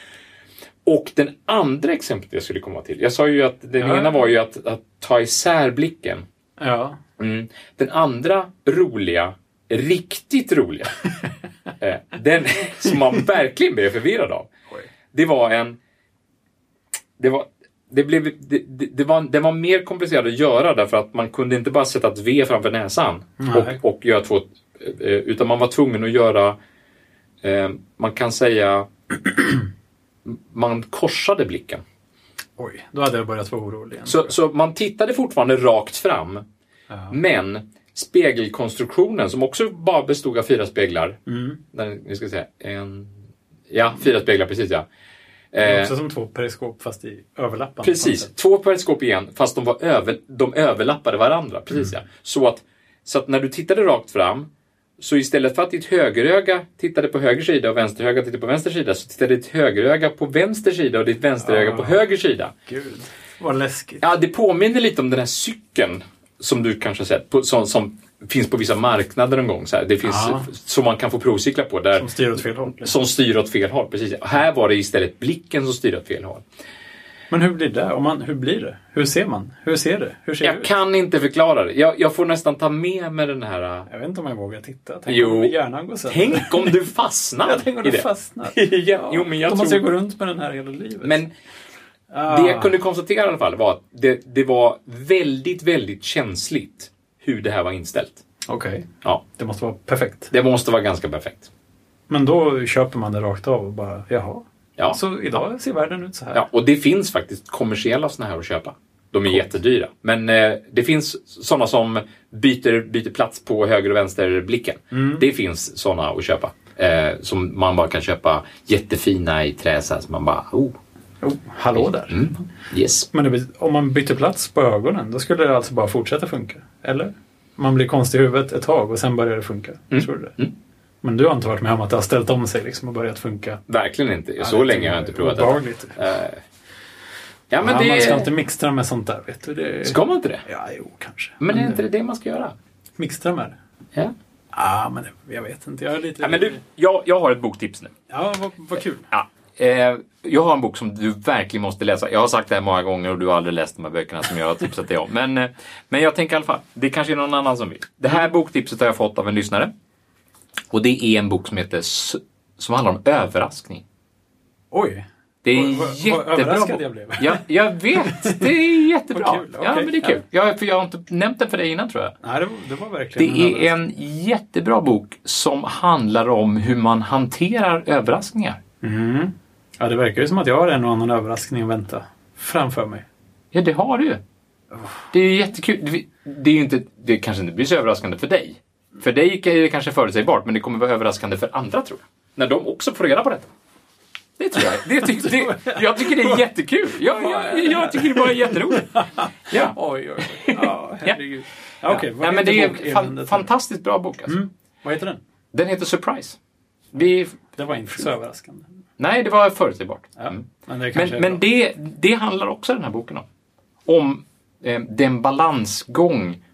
S1: Och den andra exemplet jag skulle komma till. Jag sa ju att den
S2: Ja.
S1: ena var ju att, att ta isär blicken.
S2: Ja.
S1: Mm. Den andra roliga, riktigt
S2: [LAUGHS]
S1: roliga, eh, den som man verkligen blev förvirrad av.
S2: Oj.
S1: Det var en... Det var, det blev, det, det, det var, det var mer komplicerat att göra därför att man kunde inte bara sätta ett V framför näsan
S2: Nej.
S1: och, och göra två... eh, Utan man var tvungen att göra... Eh, man kan säga... [CLEARS THROAT] Man korsade blicken.
S2: Oj, då hade jag börjat vara orolig igen.
S1: Så, så man tittade fortfarande rakt fram.
S2: Ja.
S1: Men spegelkonstruktionen som också bara bestod av fyra speglar.
S2: Mm.
S1: Nej, Nu ska jag säga. En, ja, fyra speglar, precis ja.
S2: Det är
S1: Eh,
S2: också som två periskop fast i överlappande.
S1: Precis,
S2: Alltså.
S1: två periskop igen fast de, var över, de överlappade varandra. Precis, ja. så, att, så att när du tittade rakt fram så istället för att ditt högeröga tittade på höger sida och vänsteröga tittade på vänster sida så tittade ditt högeröga på vänster sida och ditt vänsteröga på
S2: Ah.
S1: höger sida.
S2: Gud, vad läskigt.
S1: Ja, det påminner lite om den här cykeln som du kanske har sett, på, som, som finns på vissa marknader en gång. Så här. Det finns,
S2: Ja.
S1: Som man kan få provcykla på. Där,
S2: De styr åt fel håll. liksom.
S1: som styr åt fel håll. Precis. Här var det istället blicken som styrde åt fel håll.
S2: Men hur blir det? Om man, hur blir det? Hur ser man? Hur ser det? Hur ser det
S1: Jag
S2: ut?
S1: kan inte förklara det. Jag, jag får nästan ta med mig den här... äh,
S2: Jag vet inte om jag vågar titta. Tänk
S1: Jo.
S2: om hjärnan går sönder.
S1: Tänk om du fastnar
S2: [LAUGHS] jag tänker om
S1: i
S2: det
S1: det.
S2: fastnar.
S1: [LAUGHS] Ja, jo, men jag
S2: Då måste jag
S1: tror-
S2: gå runt med den här hela livet.
S1: Men
S2: ah.
S1: det jag kunde konstatera i alla fall var att det, det var väldigt, väldigt känsligt hur det här var inställt.
S2: Okej,
S1: Ja,
S2: det måste vara perfekt.
S1: det måste vara ganska perfekt.
S2: Men då köper man det rakt av och bara, jaha.
S1: Ja.
S2: Så idag ser världen ut så här.
S1: Ja, och det finns faktiskt kommersiella såna här att köpa. De är jättedyra. Men eh, det finns såna som byter, byter plats på höger och vänster blicken.
S2: Mm.
S1: Det finns såna att köpa. Eh, som man bara kan köpa jättefina i trä så här, så man bara oh,
S2: Oh, hallå där.
S1: mm, yes.
S2: Men det, bet- om man byter plats på ögonen, då skulle det alltså bara fortsätta funka? Eller? Man blir konstig i huvudet ett tag och sen börjar det funka.
S1: Mm.
S2: Tror du det? Men du har inte varit med om att det har ställt om sig liksom och börjat funka?
S1: Verkligen inte. Så
S2: Ja, det
S1: länge
S2: är
S1: har jag inte provat det.
S2: obehagligt.
S1: Eh, ja, men
S2: Ja,
S1: det...
S2: Man ska inte mixtra med sånt där, vet du. Det...
S1: Ska man inte det?
S2: Ja, jo, kanske.
S1: Men är inte det det man ska göra?
S2: Mixtra med det?
S1: Ja,
S2: Ja, men det- jag vet inte. Jag är lite...
S1: ja men du, jag, jag har ett boktips nu.
S2: Ja, vad, vad kul.
S1: Ja. Eh, jag har en bok som du verkligen måste läsa. Jag har sagt det här många gånger och du har aldrig läst de här böckerna som jag har tipsat dig om. Men, eh, men jag tänker i alla fall, det kanske är någon annan som vill. Det här boktipset har jag fått av en lyssnare. Och det är en bok som heter S- som handlar om överraskning.
S2: Oj.
S1: Det är en
S2: Vad- vad- vad
S1: jättebra
S2: överraskad
S1: bok.
S2: jag blev.
S1: Ja, jag vet, det
S2: [LAUGHS]
S1: är jättebra.
S2: Vad kul,
S1: Ja,
S2: okej,
S1: men det är kul. Jag, för jag har inte nämnt den för dig innan tror jag.
S2: Nej, det var, det var verkligen
S1: Det är en jättebra bok som handlar om hur man hanterar överraskningar.
S2: Mm. Ja, det verkar ju som att jag har en och annan överraskning att vänta framför mig.
S1: Ja, det har du ju. Det är ju jättekul. Det- Det, är ju inte, det kanske inte blir så överraskande för dig. För dig är det kanske förutsägbart, men det kommer vara överraskande för andra tror jag. När de också får reda på detta. Det tror jag. Det ty, det, jag tycker det är jättekul. Jag, jag, jag tycker det bara är jätteroligt. Ja.
S2: Oj, oj,
S1: [LAUGHS]
S2: oj. Ja, herregud. Ja, okej.
S1: Nej,
S2: Vad
S1: men
S2: heter Mm.
S1: det är
S2: bokärendet här?
S1: en fantastiskt bra bok. Alltså.
S2: Vad heter den?
S1: Den heter Surprise. Vi,
S2: Det var inte så överraskande.
S1: nej, det var förutsägbart.
S2: Ja.
S1: Mm.
S2: Men det kanske
S1: Men, men
S2: det...
S1: det, det handlar också den här boken om. Om eh, den balansgång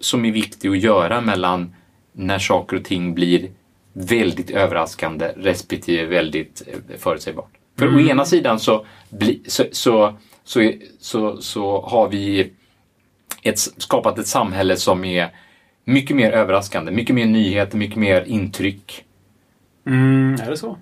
S1: som är viktig att göra mellan när saker och ting blir väldigt överraskande respektive väldigt eh, förutsägbart. För å
S2: Mm.
S1: ena sidan så, bli, så, så, så, är- så, så har vi ett, skapat ett samhälle som är mycket mer överraskande, mycket mer nyheter, mycket mer intryck.
S2: Mm, är det så?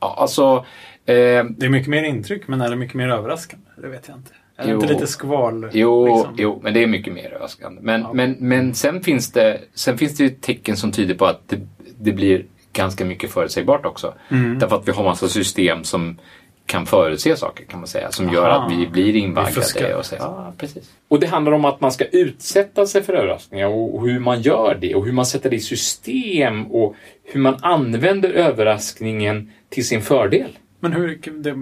S1: Ja, Alltså, eh,
S2: Det är mycket mer intryck, men är det mycket mer överraskande? Det vet jag inte. Är det
S1: Jo.
S2: inte lite skval?
S1: Jo,
S2: liksom?
S1: jo, men det är mycket mer överraskande. Men,
S2: Ja.
S1: men, men sen, finns det, sen finns det ju tecken som tyder på att det, det blir ganska mycket förutsägbart också.
S2: Mm.
S1: Därför att vi har massa system som kan förutse saker kan man säga. Som gör
S2: Aha.
S1: att vi blir
S2: Vi fuskar.
S1: invaggade. Och, säger, ah, precis. och det handlar om att man ska utsätta sig för överraskningar och och hur man gör det och hur man sätter det i system och hur man använder överraskningen till sin fördel.
S2: Men hur, kan det,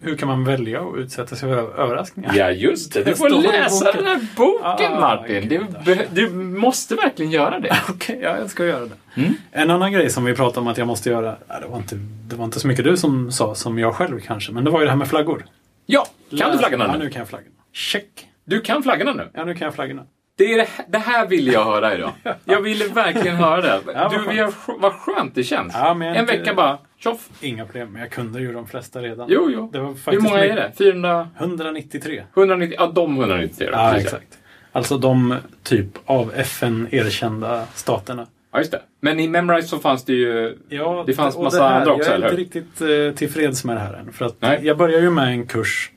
S2: hur kan man välja att utsätta sig för ö- överraskningar?
S1: Ja, just det.
S2: Det
S1: Du får
S2: står i
S1: läsa
S2: boken.
S1: den här boken,
S2: Ah,
S1: Martin. Du,
S2: gudars.
S1: be- du måste verkligen göra det.
S2: [LAUGHS] Okej, ja, jag ska göra det.
S1: Mm.
S2: En annan grej som vi pratade om att jag måste göra, ja, det, var inte, det var inte så mycket du som sa som jag själv kanske, men det var ju det här med flaggor.
S1: Ja, kan du
S2: Ja,
S1: flaggorna nu?
S2: nu kan jag flaggorna. Check!
S1: Du kan flaggorna nu.
S2: Ja, nu kan jag flaggorna.
S1: Det, är det, här, det här ville jag höra
S2: [LAUGHS]
S1: idag. Jag ville verkligen höra det.
S2: vad
S1: Du,
S2: skönt.
S1: jag, vad skönt det känns.
S2: Ja, men jag
S1: en
S2: inte-
S1: vecka bara, tjoff.
S2: Inga problem, men jag kunde ju de flesta redan.
S1: Jo, jo.
S2: Det var
S1: Hur
S2: faktiskt
S1: många är
S2: mycket-
S1: det? 400?
S2: 193.
S1: 190? Ja, de 193. då,
S2: Ja,
S1: precis.
S2: exakt. Alltså de typ av FN erkända staterna.
S1: Ja, just det. Men i Memrise så fanns det ju...
S2: Ja,
S1: det fanns
S2: och
S1: massa
S2: här,
S1: andra också,
S2: Jag är
S1: eller
S2: inte
S1: hur?
S2: riktigt eh, tillfreds med det här än. För att
S1: Nej.
S2: jag börjar ju med en kurs.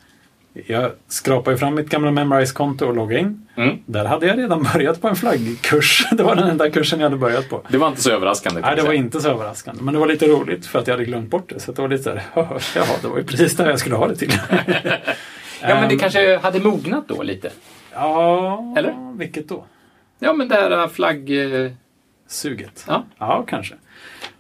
S2: Jag skrapar ju fram mitt gamla Memrise-konto och loggar in.
S1: Mm.
S2: Där hade jag redan [LAUGHS] börjat på en flaggkurs. Det var den enda kursen jag hade börjat på.
S1: Det var inte så överraskande. kan
S2: Nej, det
S1: jag
S2: var
S1: säga.
S2: inte så överraskande. Men det var lite roligt för att jag hade glömt bort det. Så att det var lite så här, jaha, det var ju precis det här jag skulle ha
S1: [LAUGHS]
S2: det till.
S1: Ja, men det
S2: Ehm,
S1: kanske hade mognat då lite.
S2: Ja,
S1: Eller?
S2: vilket då?
S1: Ja, men det här äh, flagg... eh,
S2: Suget?
S1: Ja.
S2: Ja, kanske.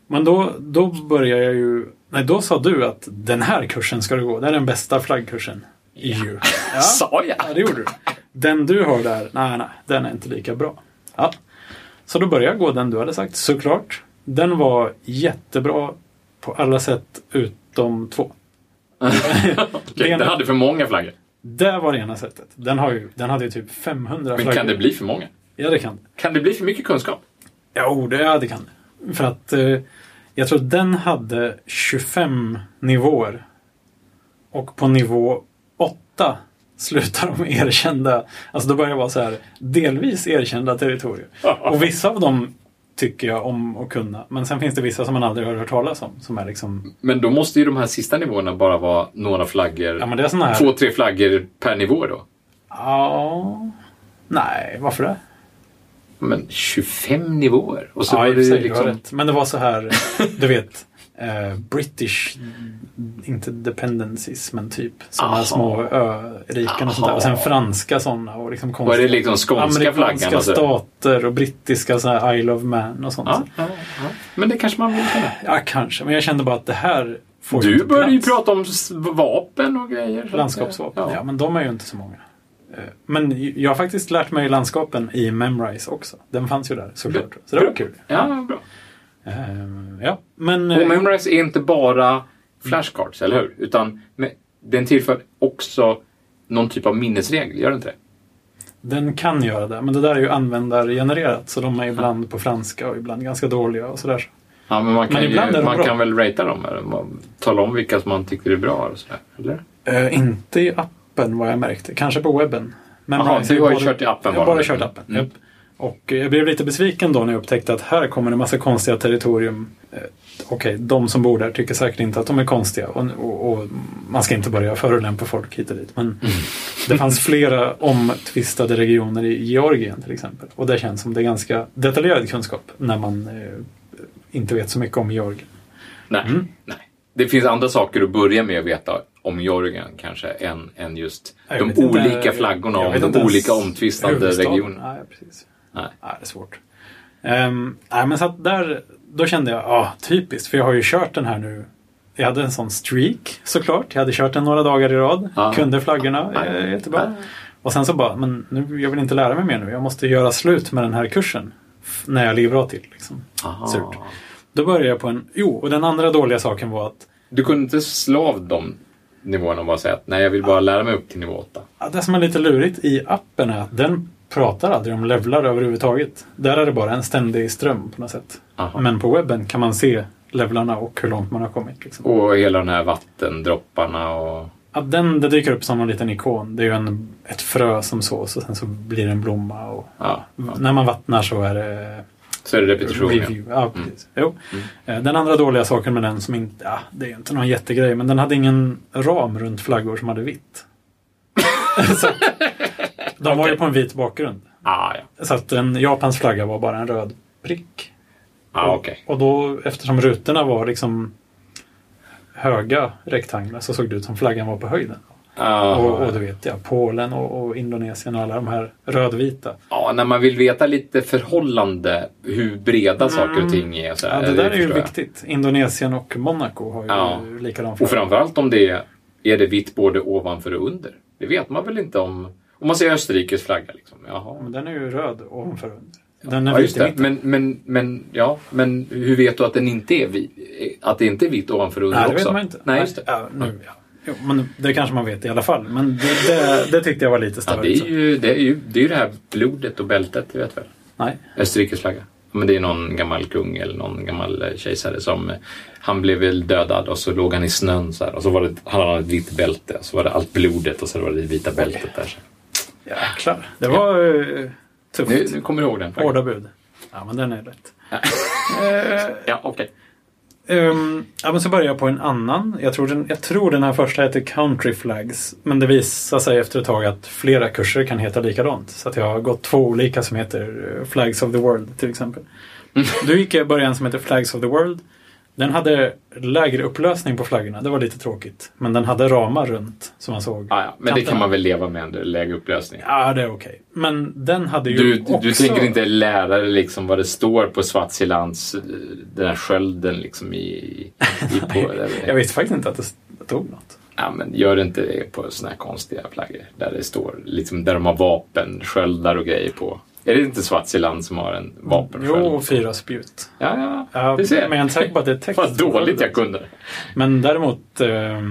S2: Men då, då börjar jag ju... Nej, då sa du att den här kursen ska du gå. Det är den bästa flaggkursen.
S1: [LAUGHS]
S2: EU. Ja,
S1: Sa jag?
S2: ja det gjorde du. Den du har där, nej, nej, den är inte lika bra. Ja. Så då började jag gå den du hade sagt, såklart. Den var jättebra på alla sätt utom två.
S1: Okej,
S2: Det-
S1: den hade för många flaggor.
S2: Det var det ena sättet. Den, har ju, den hade ju typ 500
S1: Men kan det bli för många?
S2: Ja, det kan det.
S1: Kan det bli för mycket kunskap?
S2: Jo, det, ja, det kan det. För att eh, jag tror den hade 25 nivåer. Och på nivå 8 slutar de [LAUGHS] erkända. Alltså då börjar det vara så här delvis erkända territorier. Och vissa av dem tycker jag om att kunna. Men sen finns det vissa som man aldrig har hört talas om. Som är liksom,
S1: Men då måste ju de här sista nivåerna bara vara några flaggor.
S2: ja men det är såna här...
S1: Två, tre flaggor per nivå då?
S2: Ja... Nej, varför det?
S1: Men 25 nivåer? Och så
S2: ja,
S1: var
S2: i och för
S1: det
S2: sig, du
S1: liksom...
S2: har rätt. Men det var så här, du vet, eh, British, inte dependencies, men typ sådana
S1: Aha.
S2: små öriken och sånt där. Och sen franska sådana och liksom
S1: Var det
S2: konstiga
S1: liksom skånska flaggan?
S2: amerikanska
S1: och så?
S2: stater och brittiska så här Isle of Man och sånt.
S1: Ja, ja, ja. Men det kanske man vill kunna.
S2: Ja, kanske. Men jag kände bara att det här får
S1: Du
S2: inte
S1: började ju
S2: plats.
S1: prata om s- vapen och grejer. så att-
S2: Landskapsvapen. Ja.
S1: Ja.
S2: men de är ju inte så många. Eh, Men jag har faktiskt lärt mig landskapen i Memrise också. Den fanns ju där såklart. Så det var kul.
S1: Ja, bra.
S2: Eh, Ja, men...
S1: Och Memrise är inte bara flashcards, eller hur? Utan me- den tillför också någon typ av minnesregel, gör den inte det?
S2: Den kan göra det, men det där är ju användargenererat så de är ibland på franska och ibland ganska dåliga och sådär.
S1: Ja, men man kan,
S2: Men ibland är
S1: ju,
S2: de
S1: man
S2: bra.
S1: kan väl ratea dem? Eller man- tala om vilka som man tycker är bra och sådär, eller?
S2: Eh, inte i appen vad jag märkte, kanske på webben. Men
S1: Jaha,
S2: Rise
S1: du har ju
S2: både-
S1: kört i appen
S2: Jag har
S1: bara.
S2: bara kört appen,
S1: Mm.
S2: japp. Och eh, jag blev lite besviken då när jag upptäckte att här kommer en massa konstiga territorium. Eh, Okej, de som bor där tycker säkert inte att de är konstiga och, och, och man ska inte börja förolämpa folk hit och dit.
S1: Mm.
S2: Men det fanns flera omtvistade regioner i Georgien till exempel. Och det känns som det är ganska detaljerad kunskap när man eh, inte vet så mycket om Georgien.
S1: Nej,
S2: Mm.
S1: nej. Det finns andra saker att börja med att veta om Georgien kanske än, än just
S2: Jag
S1: de
S2: vet inte-
S1: olika
S2: jag
S1: flaggorna
S2: vet
S1: och de
S2: inte ens
S1: olika omtvistade
S2: huvudstaden.
S1: regionerna.
S2: Nej, precis.
S1: Nej.
S2: Nej, det är svårt. Ehm, nej, men så att där, då kände jag, ja, typiskt, för jag har ju kört den här nu. Jag hade en sån streak såklart. Jag hade kört den några dagar i rad.
S1: Ja.
S2: Kunde flaggorna
S1: Ja.
S2: eh, jättebra. Och sen så bara, men nu, jag vill inte lära mig mer nu. Jag måste göra slut med den här kursen. f- När jag ligger bra till. Liksom.
S1: Aha.
S2: Surt. Då började jag på en, jo, och den andra dåliga saken var att
S1: Du kunde inte slå av de nivåerna och bara säga att nej, jag vill bara lära mig upp till nivå 8.
S2: Ja, Det som är lite lurigt i appen är att den pratar aldrig om levlar överhuvudtaget. Där är det bara en ständig ström på något sätt.
S1: Aha.
S2: Men på webben kan man se levlarna och hur långt man har kommit. Liksom.
S1: Och hela de här vattendropparna och...
S2: Ja, den det dyker upp som en liten ikon. Det är ju en, ett frö som sås och sen så blir det en blomma. Och
S1: Ja, ja.
S2: När man vattnar så är det
S1: Så är Mm. det repetition. Ja.
S2: review. Ja, precis. Jo. Eh, Den andra dåliga saken med den som inte, ja, det är ju inte någon jättegrej, men den hade ingen ram runt flaggor som hade vitt. [LAUGHS] så, de var ju på en vit bakgrund.
S1: Ah, ja.
S2: Så att en Japans flagga var bara en röd prick.
S1: Ah, okej.
S2: Och då, eftersom rutorna var liksom höga rektanglar så såg det ut som flaggan var på höjden.
S1: Ah,
S2: Och, och du vet, ja, Polen och, och Indonesien och alla de här rödvita.
S1: Ja, när man vill veta lite förhållande, hur breda saker och ting är. och Så
S2: Mm. Ja,
S1: här,
S2: det där är ju
S1: förstår jag.
S2: viktigt. Indonesien och Monaco har ju
S1: Ja.
S2: likadan
S1: Och
S2: flagga.
S1: framförallt om det är, är det vitt både ovanför och under. Det vet man väl inte om... Om man ser Österrikes flagga liksom. Jaha.
S2: Men den är ju röd ovanför och under. Den är
S1: Ja,
S2: vit
S1: just
S2: i
S1: det.
S2: mitten.
S1: Men, men, men, ja, men hur vet du att den inte är vit? Att det inte är vitt ovanför och under
S2: Nej, det
S1: också?
S2: vet man inte.
S1: Nej, just det.
S2: Ja, nu, ja. Jo, men det kanske man vet i alla fall. Men det, det, det tyckte jag var lite
S1: Ja,
S2: större.
S1: det, är ju, det, är ju, det är ju det här blodet och bältet, du vet väl?
S2: Nej.
S1: Österrikes flagga. Men det är någon gammal kung eller någon gammal eh, kejsare som eh, han blev väl dödad och så låg han i snön så här och så var det, han hade ett vitt bälte och så var det allt blodet och så var det det vita bältet där.
S2: Jäklar. Det var eh, tufft.
S1: Nu, nu kommer du ihåg den? faktiskt.
S2: Hårda bud. Ja, men den är rätt. [LAUGHS] Eh,
S1: Ja, okej.
S2: Ehm, ja, men så börjar jag på en annan. Jag tror, den, jag tror den här första heter Country Flags. Men det visar sig efter ett tag att flera kurser kan heta likadant. Så att jag har gått två olika som heter eh, Flags of the World till exempel.
S1: Mm.
S2: Då gick jag i början som heter Flags of the World. Den hade lägre upplösning på flaggorna. Det var lite tråkigt. Men den hade ramar runt som man såg.
S1: Ja, ja. Men det kan
S2: kanterna.
S1: man väl leva med ändå, lägre upplösning.
S2: Ja, det är okej. Men den hade ju
S1: Du,
S2: också...
S1: du tänker inte lära dig liksom vad det står på Swazilands, eh, den här skölden liksom i... i i på,
S2: Jag visste faktiskt inte att det stod något.
S1: Ja, men gör inte det på såna här konstiga flaggor där det står, liksom där de har vapen, sköldar och grejer på. Är det inte Swaziland som har en vapensköld?
S2: Jo, och fyra spjut.
S1: Ja, ja,
S2: Ja,
S1: du ser.
S2: men jag är inte säker på att det är
S1: [LAUGHS]
S2: text.
S1: Vad dåligt jag kunde det.
S2: Men däremot eh,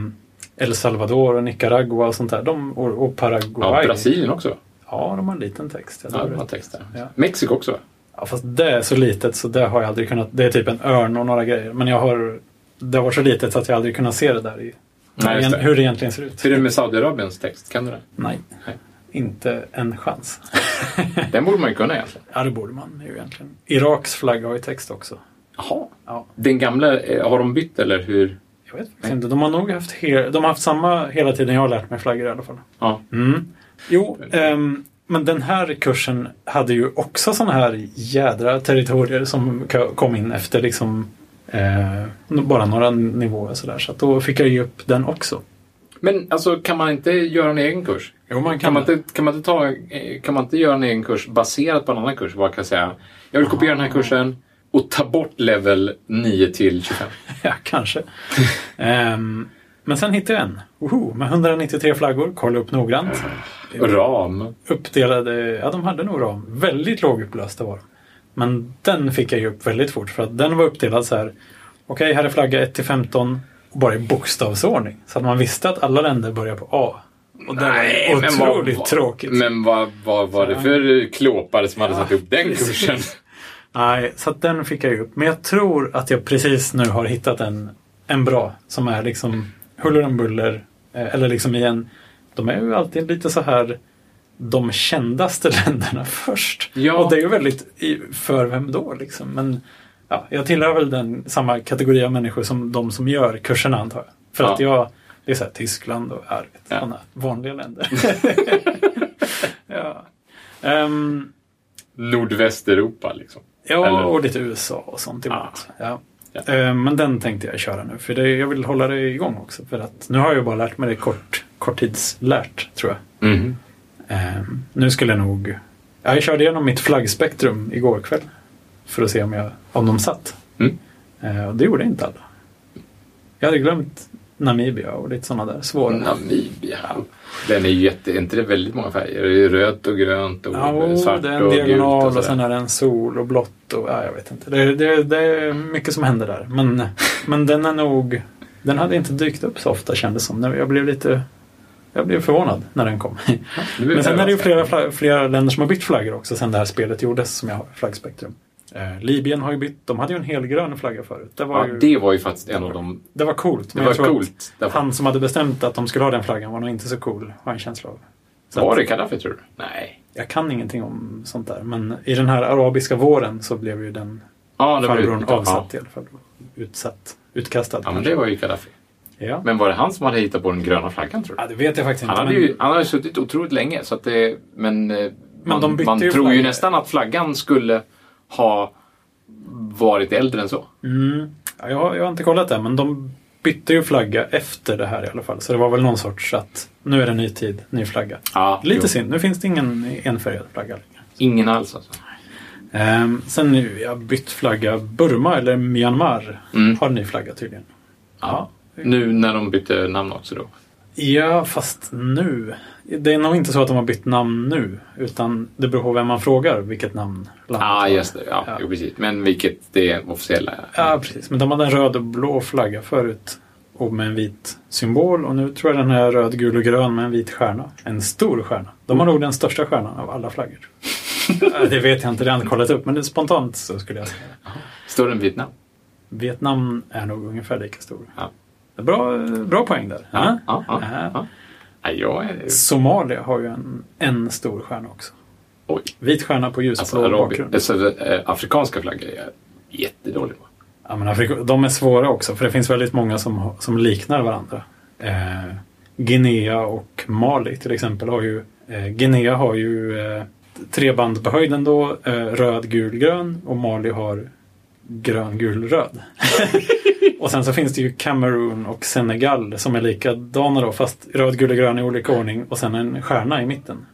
S2: El Salvador och Nicaragua och sånt där. De, och, och
S1: Ja,
S2: Paraguay.
S1: Brasilien också.
S2: Ja, de har en liten text. Jag
S1: Ja,
S2: tror
S1: de har
S2: det.
S1: text där.
S2: Ja.
S1: Mexiko också.
S2: Ja, fast det är så litet så det har jag aldrig kunnat. Det är typ en örn och några grejer. Men jag har, det har varit så litet så att jag aldrig kunnat se det där i
S1: Nej, just det.
S2: hur det egentligen ser ut.
S1: Hur är det med Saudiarabiens text? Kan du den?
S2: Nej,
S1: Nej.
S2: inte en chans. [LAUGHS]
S1: Den borde man ju kunna egentligen.
S2: Ja, det borde man ju egentligen. Iraks flagga har ju text också.
S1: Jaha.
S2: Ja,
S1: Den gamla, eh, har de bytt eller hur?
S2: jag vet faktiskt inte. De har nog haft, he- de har haft samma hela tiden jag har lärt mig flaggor i alla fall. Mm.
S1: Ja.
S2: Jo, ehm, men den här kursen hade ju också sådana här jädra territorier som k- kom in efter liksom eh, bara några nivåer sådär. Så att då fick jag ge upp den också.
S1: Men alltså, kan man inte göra en egen kurs?
S2: Jo, man
S1: Kan man, inte, kan, man inte ta, eh, kan man inte göra en egen kurs baserat på en annan kurs? Bara kan säga, jag vill kopiera den
S2: Ah.
S1: här kursen och ta bort level 9 till 25.
S2: [LAUGHS] Ja, kanske. Ehm, men sen hittade jag en. Woho, med 193 flaggor. Kolla upp noggrant.
S1: Ram.
S2: Uppdelade, ja de hade nog ram. Väldigt lågupplösta var de. Men den fick jag ju upp väldigt fort för att den var uppdelad så här. Okej, här är flagga 1 till 15 och bara i bokstavsordning. Så att man visste att alla länder börjar på A. Och det var ju otroligt
S1: vad,
S2: tråkigt.
S1: Men vad, vad var det för klåpare som hade satt upp den
S2: precis.
S1: kursen? [LAUGHS]
S2: Nej, så att den fick jag ju upp. Men jag tror att jag precis nu har hittat en, en bra som är liksom huller om buller. eh, Eller liksom igen, de är ju alltid lite så här de kändaste [LAUGHS] länderna först.
S1: Ja.
S2: Och det är ju väldigt i- för vem då liksom. Men ja, jag tillhör väl den samma kategori av människor som de som gör kurserna antar jag. För
S1: Ja.
S2: att jag, det är så här Tyskland och ja,
S1: Ja.
S2: sådana
S1: [LAUGHS]
S2: vanliga länder. [LAUGHS] ja. Ehm,
S1: Nordvästeuropa liksom.
S2: Ja,
S1: Eller-
S2: och lite USA och sånt emot. Ja.
S1: Ja.
S2: Eh, Men den tänkte jag köra nu, för det, jag vill hålla det igång också. För att nu har jag ju bara lärt mig det kort, korttidslärt, tror jag.
S1: Mhm.
S2: Eh, Nu skulle jag nog... Ja, jag körde igenom mitt flaggspektrum igår kväll för att se om, jag, om de satt.
S1: Mm.
S2: Eh, Och det gjorde inte alla. Jag hade glömt Namibia och lite sådana där svåra.
S1: Namibia. Den är ju jätte... är inte det väldigt många färger? Det är rött och grönt och
S2: Ja,
S1: svart
S2: det är
S1: och
S2: en
S1: gult
S2: diagonal och,
S1: och
S2: sen
S1: sådär.
S2: är det en sol och blått och ja, jag vet inte. Det, det, det är mycket som händer där. Men, men den är nog... Den hade inte dykt upp så ofta kändes som. Jag blev lite... Jag blev förvånad när den kom.
S1: Nu blir
S2: Men sen är det ju
S1: överraskad.
S2: flera, fla- flera länder som har bytt flaggor också sen det här spelet gjordes som jag har flaggspektrum. Eh, Libyen har ju bytt. De hade ju en helgrön flagga förut. Det var,
S1: Ja,
S2: ju, det,
S1: det var ju faktiskt en av de...
S2: var coolt.
S1: Det
S2: men jag
S1: var
S2: tror att
S1: coolt. Därför.
S2: Han som hade bestämt att de skulle ha den flaggan var nog inte så cool, har jag en känsla av. Så att-
S1: Var det Kadaffi tror du? Nej.
S2: jag kan ingenting om sånt där, men i den här arabiska våren så blev ju den
S1: Ja, det var ju-
S2: farbrorn avsatt
S1: Ja.
S2: i alla fall. Utsatt. Utkastad.
S1: ja, men
S2: kanske.
S1: det var ju Gaddafi.
S2: ja.
S1: Men var det han som hade hittat på den gröna flaggan tror du?
S2: ja, det vet jag faktiskt
S1: Han
S2: inte.
S1: hade
S2: men-
S1: ju han hade suttit otroligt länge, så att det, men, eh, man,
S2: de bytte
S1: man
S2: ju
S1: tror ju
S2: flaggor.
S1: nästan att flaggan skulle ha varit äldre än så.
S2: Mm. Ja, jag, jag har inte kollat det, men de bytte ju flagga efter det här i alla fall. Så det var väl någon sorts att nu är det ny tid, ny flagga.
S1: Ja,
S2: Lite
S1: jo.
S2: synd, nu finns det ingen enfärgad flagga längre.
S1: Ingen alls alltså.
S2: Ehm, sen nu, jag har bytt flagga. Burma eller Myanmar
S1: Mm.
S2: har ny flagga tydligen. Ja.
S1: Nu när de bytte namn också då.
S2: ja, fast nu. Det är nog inte så att de har bytt namn nu, utan det beror på vem man frågar vilket namn landet
S1: Ja,
S2: har.
S1: Ah, just det. Ja,
S2: Ja.
S1: Jo, precis. Men vilket det är officiella.
S2: Ja, precis. Men de hade en röd och blå flagga förut och med en vit symbol och nu tror jag den är röd, gul och grön med en vit stjärna. En stor stjärna. De har nog den största stjärnan av
S1: [LAUGHS]
S2: alla flaggor. Ja, det vet jag inte, det har jag inte kollat upp, men det är spontant så skulle jag säga.
S1: Står det en vit namn?
S2: Vietnam är nog ungefär lika stor.
S1: Ja.
S2: Bra, bra poäng där. Ja.
S1: Ja, ja,
S2: Ja.
S1: ja. ja jag är...
S2: Somalia har ju en, en stor stjärna också.
S1: Oj.
S2: Vit stjärna på
S1: Alltså,
S2: ljusblå
S1: arabi...
S2: bakgrund.
S1: alltså, eh, afrikanska flaggor är jag jättedålig på.
S2: Ja, men Afrika, de är svåra också, för det finns väldigt många som, som liknar varandra. Eh, Guinea och Mali till exempel har ju... Eh, Guinea har ju eh, tre band på höjden då, eh, röd, gul, grön och Mali har grön, gul, röd. [LAUGHS] och sen så finns det ju Kamerun och Senegal som är likadana då, fast röd, gul och grön i olika ordning och sen en stjärna i mitten.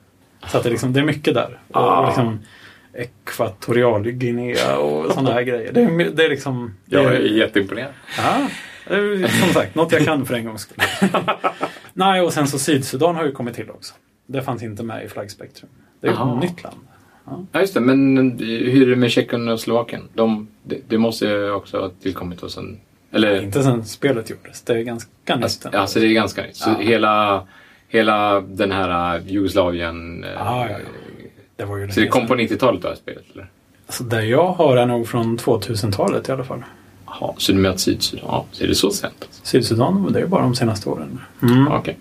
S2: Så att det, är liksom, det är mycket där. Och,
S1: Ah.
S2: och liksom, Ekvatorialguinea och sådana här grejer. Det är, my- det är liksom... Det
S1: Jag är
S2: är,
S1: jätteimponerad.
S2: ja, det är som sagt, något jag kan för en gångs skull.
S1: [LAUGHS]
S2: Nej, och sen så Sydsudan har ju kommit till också. Det fanns inte med i flaggspektrum. Det är ju
S1: Aha.
S2: ett nytt land.
S1: Ja, just det. Men eh, hur är det med Tjeckien och Slovakien? De, det, det måste ju också ha tillkommit hos en... Eller,
S2: Inte sen spelet gjordes. Det är ganska nytt.
S1: alltså,
S2: ändå.
S1: alltså det är ganska nytt. Så
S2: Ja.
S1: hela, hela den här eh, Jugoslavien... eh,
S2: Ah, Ja, ja, ja. det var ju
S1: Så det
S2: länge
S1: kom på
S2: sedan.
S1: 90-talet det här spelet, eller?
S2: Alltså, där jag har är nog från 2000-talet i alla fall.
S1: Jaha, så du möter Sydsudan? Ja, så är det så sent alltså?
S2: Sydsudan, det är bara de senaste åren. Mm.
S1: Ja, okej.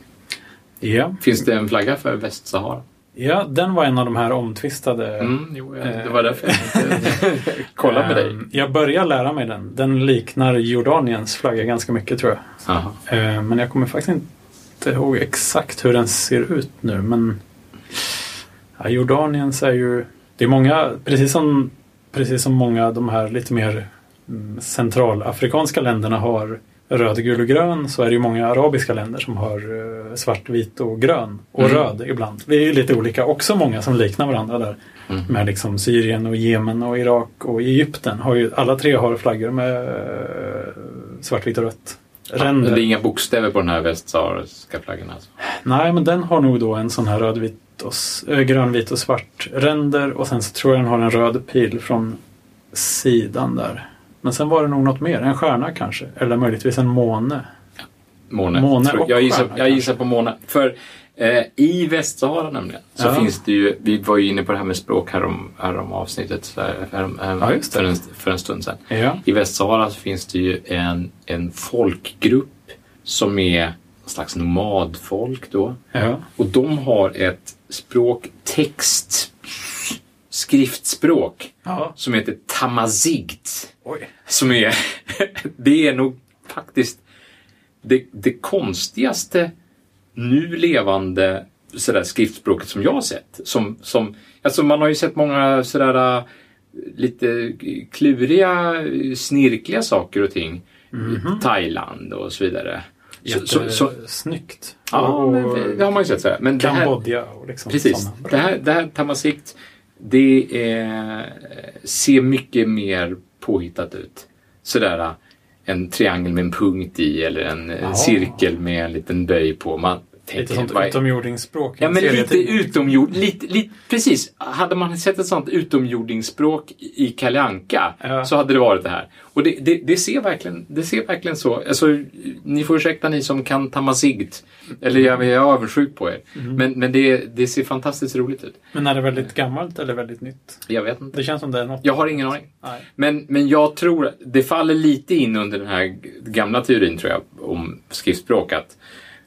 S2: Ja.
S1: Finns det en flagga för Västsahara?
S2: ja, den var en av de här omtvistade
S1: Mm, jo, ja, det
S2: Eh.
S1: var därför jag tänkte [LAUGHS] kolla med
S2: [LAUGHS]
S1: dig.
S2: Ehm, Jag börjar lära mig den. Den liknar Jordaniens flagga ganska mycket tror jag.
S1: Jaha.
S2: Ehm, Men jag kommer faktiskt inte ihåg exakt hur den ser ut nu. Men ja, Jordaniens är ju... Det är många, precis som, precis som många av de här lite mer mm, centralafrikanska länderna har röd, gul och grön så är det ju många arabiska länder som har eh, svart, vit och grön och
S1: Mm.
S2: röd ibland. Det är ju lite olika, också många som liknar varandra där
S1: Mm.
S2: med liksom Syrien och Jemen och Irak och Egypten. Har ju, alla tre har flaggor med eh, svartvitt och rött.
S1: Men
S2: Ränder.
S1: det är inga bokstäver på den här västsahariska flaggan alltså?
S2: Nej, men den har nog då en sån här rödvit och, s- eh, grönvit och svart ränder och sen så tror jag den har en röd pil från sidan där. Men sen var det nog något mer, en stjärna kanske, eller möjligtvis en måne.
S1: Måne.
S2: Måne
S1: Tror-
S2: och
S1: jag, gissar,
S2: stjärna,
S1: jag gissar
S2: kanske.
S1: på måne. För eh, i Västsahara nämligen så
S2: Ja.
S1: finns det ju, vi var ju inne på det här med språk härom, härom avsnittet så här, härom, härom,
S2: Ja, just det.
S1: för, en, för en stund sedan.
S2: Ja.
S1: I Västsahara så finns det ju en, en folkgrupp som är en slags nomadfolk då.
S2: ja.
S1: Och de har ett språk, text, skriftspråk
S2: ja.
S1: som heter tamazigt.
S2: Oj.
S1: Som är, [LAUGHS] det är nog faktiskt det, det konstigaste nu levande sådär, skriftspråket som jag har sett. Som, som, alltså man har ju sett många sådär äh, lite kluriga, äh, snirkliga saker och ting. I Thailand och så vidare. Så, så, så,
S2: Jättesnyggt.
S1: ja,
S2: Och
S1: men det, det har man ju sett. Sådär. Men det här,
S2: Kambodja och liksom
S1: Precis.
S2: sådana.
S1: Det här, det här Tamasikt, det är, ser mycket mer påhittat ut. Sådär eh, en triangel med en punkt i eller en eh,
S2: Ja.
S1: cirkel med en liten böj på. Man
S2: Lite
S1: tänker,
S2: sånt
S1: vad är-
S2: utomjordingsspråk.
S1: Ja, men lite
S2: Serietidning.
S1: utomjord. Lite, lite, precis. Hade man sett ett sånt utomjordingsspråk i Kalle Anka
S2: Ja.
S1: så hade det varit det här. Och det, det, det, ser, verkligen, det ser verkligen så. Alltså, ni får ursäkta ni som kan tamazigt. Eller jag, jag är avundsjuk på er. Men, men det, det ser fantastiskt roligt ut.
S2: Men är det väldigt gammalt eller väldigt nytt?
S1: Jag vet inte.
S2: Det känns som det är något.
S1: Jag har ingen aning.
S2: Nej.
S1: Men, men jag tror, det faller lite in under den här g- gamla teorin tror jag om skriftspråk. Att,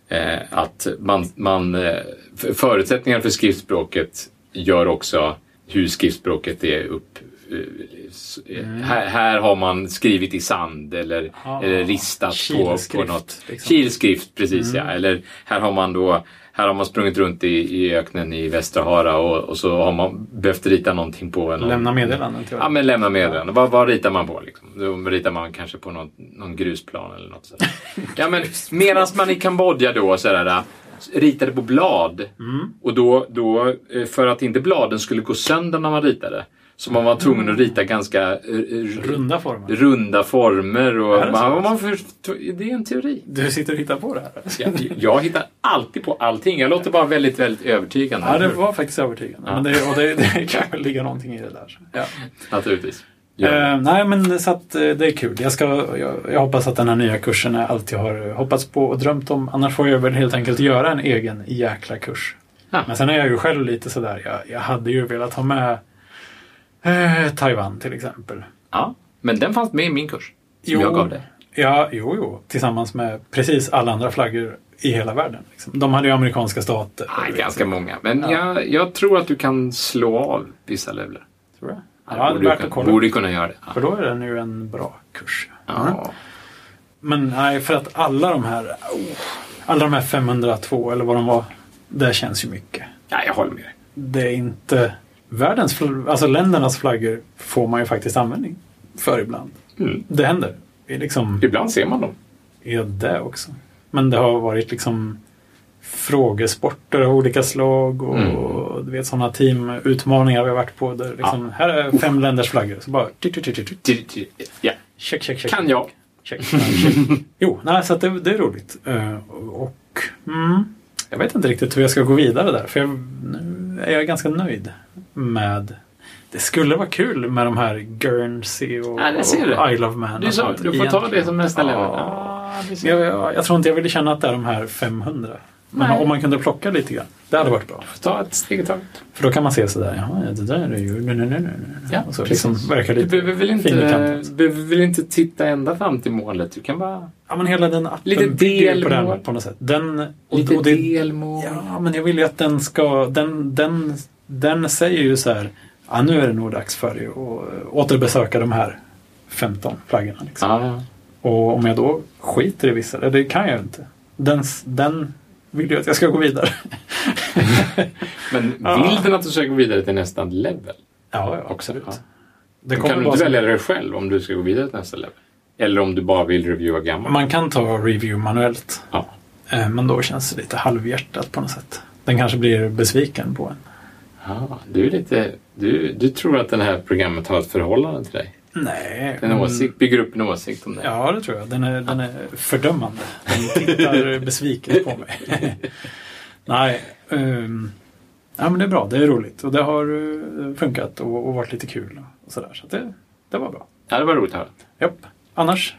S1: eh, att man, man, eh, f- förutsättningarna för skriftspråket gör också hur skriftspråket är upp, eh,
S2: Mm.
S1: här, här har man skrivit i sand eller,
S2: Ah,
S1: eller ristat på, på
S2: kilskrift,
S1: något.
S2: liksom. Mm.
S1: Kilskrift, precis ja. Eller här har man då här har man sprungit runt i, i öknen i Västsahara och, och så har man behövt rita någonting på en.
S2: Lämna meddelanden till
S1: Ja, men lämna meddelanden. Vad, vad ritar man på? Liksom? Då ritar man kanske på någon, någon grusplan eller något
S2: [LAUGHS]
S1: sådär. ja, men medan man i Kambodja då sådär, ritade på blad.
S2: Mm.
S1: Och då, då, eh, för att inte bladen skulle gå sönder när man ritade, så man var tvungen att rita ganska eh, r-
S2: Mm. Runda former. runda
S1: runda former.
S2: Är
S1: Och
S2: det
S1: man,
S2: så?
S1: man förstår- det är en teori.
S2: Du sitter och hittar på det här?
S1: Jag, jag hittar alltid på allting. Jag låter bara väldigt, väldigt övertygande.
S2: Ja, det var faktiskt övertygande.
S1: Ja.
S2: Men det, och det, det kan väl ligga någonting i det där. Ja.
S1: Naturligtvis. Ja.
S2: Eh, nej, men så att eh, det är kul. Jag, ska, jag, jag hoppas att den här nya kursen är allt jag har eh, hoppats på och drömt om. Annars får jag väl helt enkelt göra en egen jäkla kurs.
S1: Ja.
S2: Men sen är jag ju själv lite sådär, jag, jag hade ju velat ha med eh, Taiwan till exempel.
S1: ja. Men den fanns med i min kurs. Som jag gav dig.
S2: Ja, jo, jo. Tillsammans med precis alla andra flaggor i hela världen. Liksom. De hade ju amerikanska stater.
S1: Nej,
S2: och
S1: ganska många. Men
S2: Ja.
S1: jag, jag tror att du kan slå av vissa leveler.
S2: Tror jag. Ja, det är värt att kolla.
S1: Borde kunna göra det. Ja.
S2: För då är det nu en bra kurs. Mm.
S1: Ja.
S2: Men nej, för att alla de här oh, alla de här 502 eller vad de var, det känns ju mycket.
S1: ja, jag håller med dig.
S2: Det är inte världens, fl- alltså ländernas flaggor får man ju faktiskt användning för ibland.
S1: Mm.
S2: Det händer. Det är liksom,
S1: Ibland ser man dem.
S2: är det också. Men det har varit liksom frågesporter av olika slag och
S1: Mm.
S2: du vet sådana teamutmaningar vi har varit på där liksom, här är fem länders flaggor. Så bara tut, tut, tut, tut, tut.
S1: Ti- ti- Ja.
S2: check, check, check.
S1: Kan jag.
S2: Check. [LAUGHS] Check. Jo, nej, så att det, det är roligt. Eh, och mm, jag vet inte riktigt hur jag ska gå vidare där. För jag, nu är jag ganska nöjd med... Det skulle vara kul med de här Guernsey och,
S1: Ja, det ser du.
S2: och I Love Man.
S1: Du
S2: och
S1: sa
S2: sånt.
S1: du får ta
S2: Egentligen.
S1: det som nästa level.
S2: Ja, jag, jag, jag tror inte jag ville känna att det är de här 500. Men om man kunde plocka lite grann. Det hade varit bra.
S1: Ta ett steg i taget.
S2: För då kan man se sådär, jaha, det där är ju... Nej, nej, nej, nej.
S1: Ja,
S2: och så
S1: precis.
S2: liksom verkar
S1: Du
S2: lite
S1: behöver väl inte,
S2: fin i kanten.
S1: behöver väl inte titta ända fram till målet. Du kan bara...
S2: Ja, men hela den appen
S1: Lite
S2: bygger ju på
S1: delmål.
S2: den på något sätt. Den, och,
S1: Lite
S2: och det,
S1: delmål.
S2: ja, men jag vill ju att den ska... Den, den, den säger ju så här, ja, nu är det nog dags för dig att eh, återbesöka de här 15 flaggorna. Liksom.
S1: Ja, ja.
S2: Och om jag då skiter i vissa, eller det kan jag ju inte. Den, den vill ju att jag ska gå vidare.
S1: Men
S2: Ja.
S1: vill den att du ska gå vidare till nästa level?
S2: ja, ja,
S1: Ja.
S2: Det
S1: Då kan du
S2: vara
S1: inte
S2: så-
S1: välja dig själv om du ska gå vidare till nästa level. Eller om du bara vill reviewa gammalt.
S2: Man kan ta review manuellt,
S1: Ja.
S2: eh, men då känns det lite halvhjärtat på något sätt. Den kanske blir besviken på en.
S1: Ah, du, är lite, du, du tror att det här programmet har ett förhållande till dig?
S2: Nej.
S1: En
S2: hon-
S1: åsikt, bygger upp en åsikt om dig?
S2: Mm. Ja, det tror jag. Den är, den är fördömande. Den tittar besviket på mig. Nej, ehm, ja, men det är bra. Det är roligt och det har eh, funkat och, och varit lite kul. Och sådär. Så att det, det var bra.
S1: Ja, det var roligt att höra.
S2: Japp. Annars,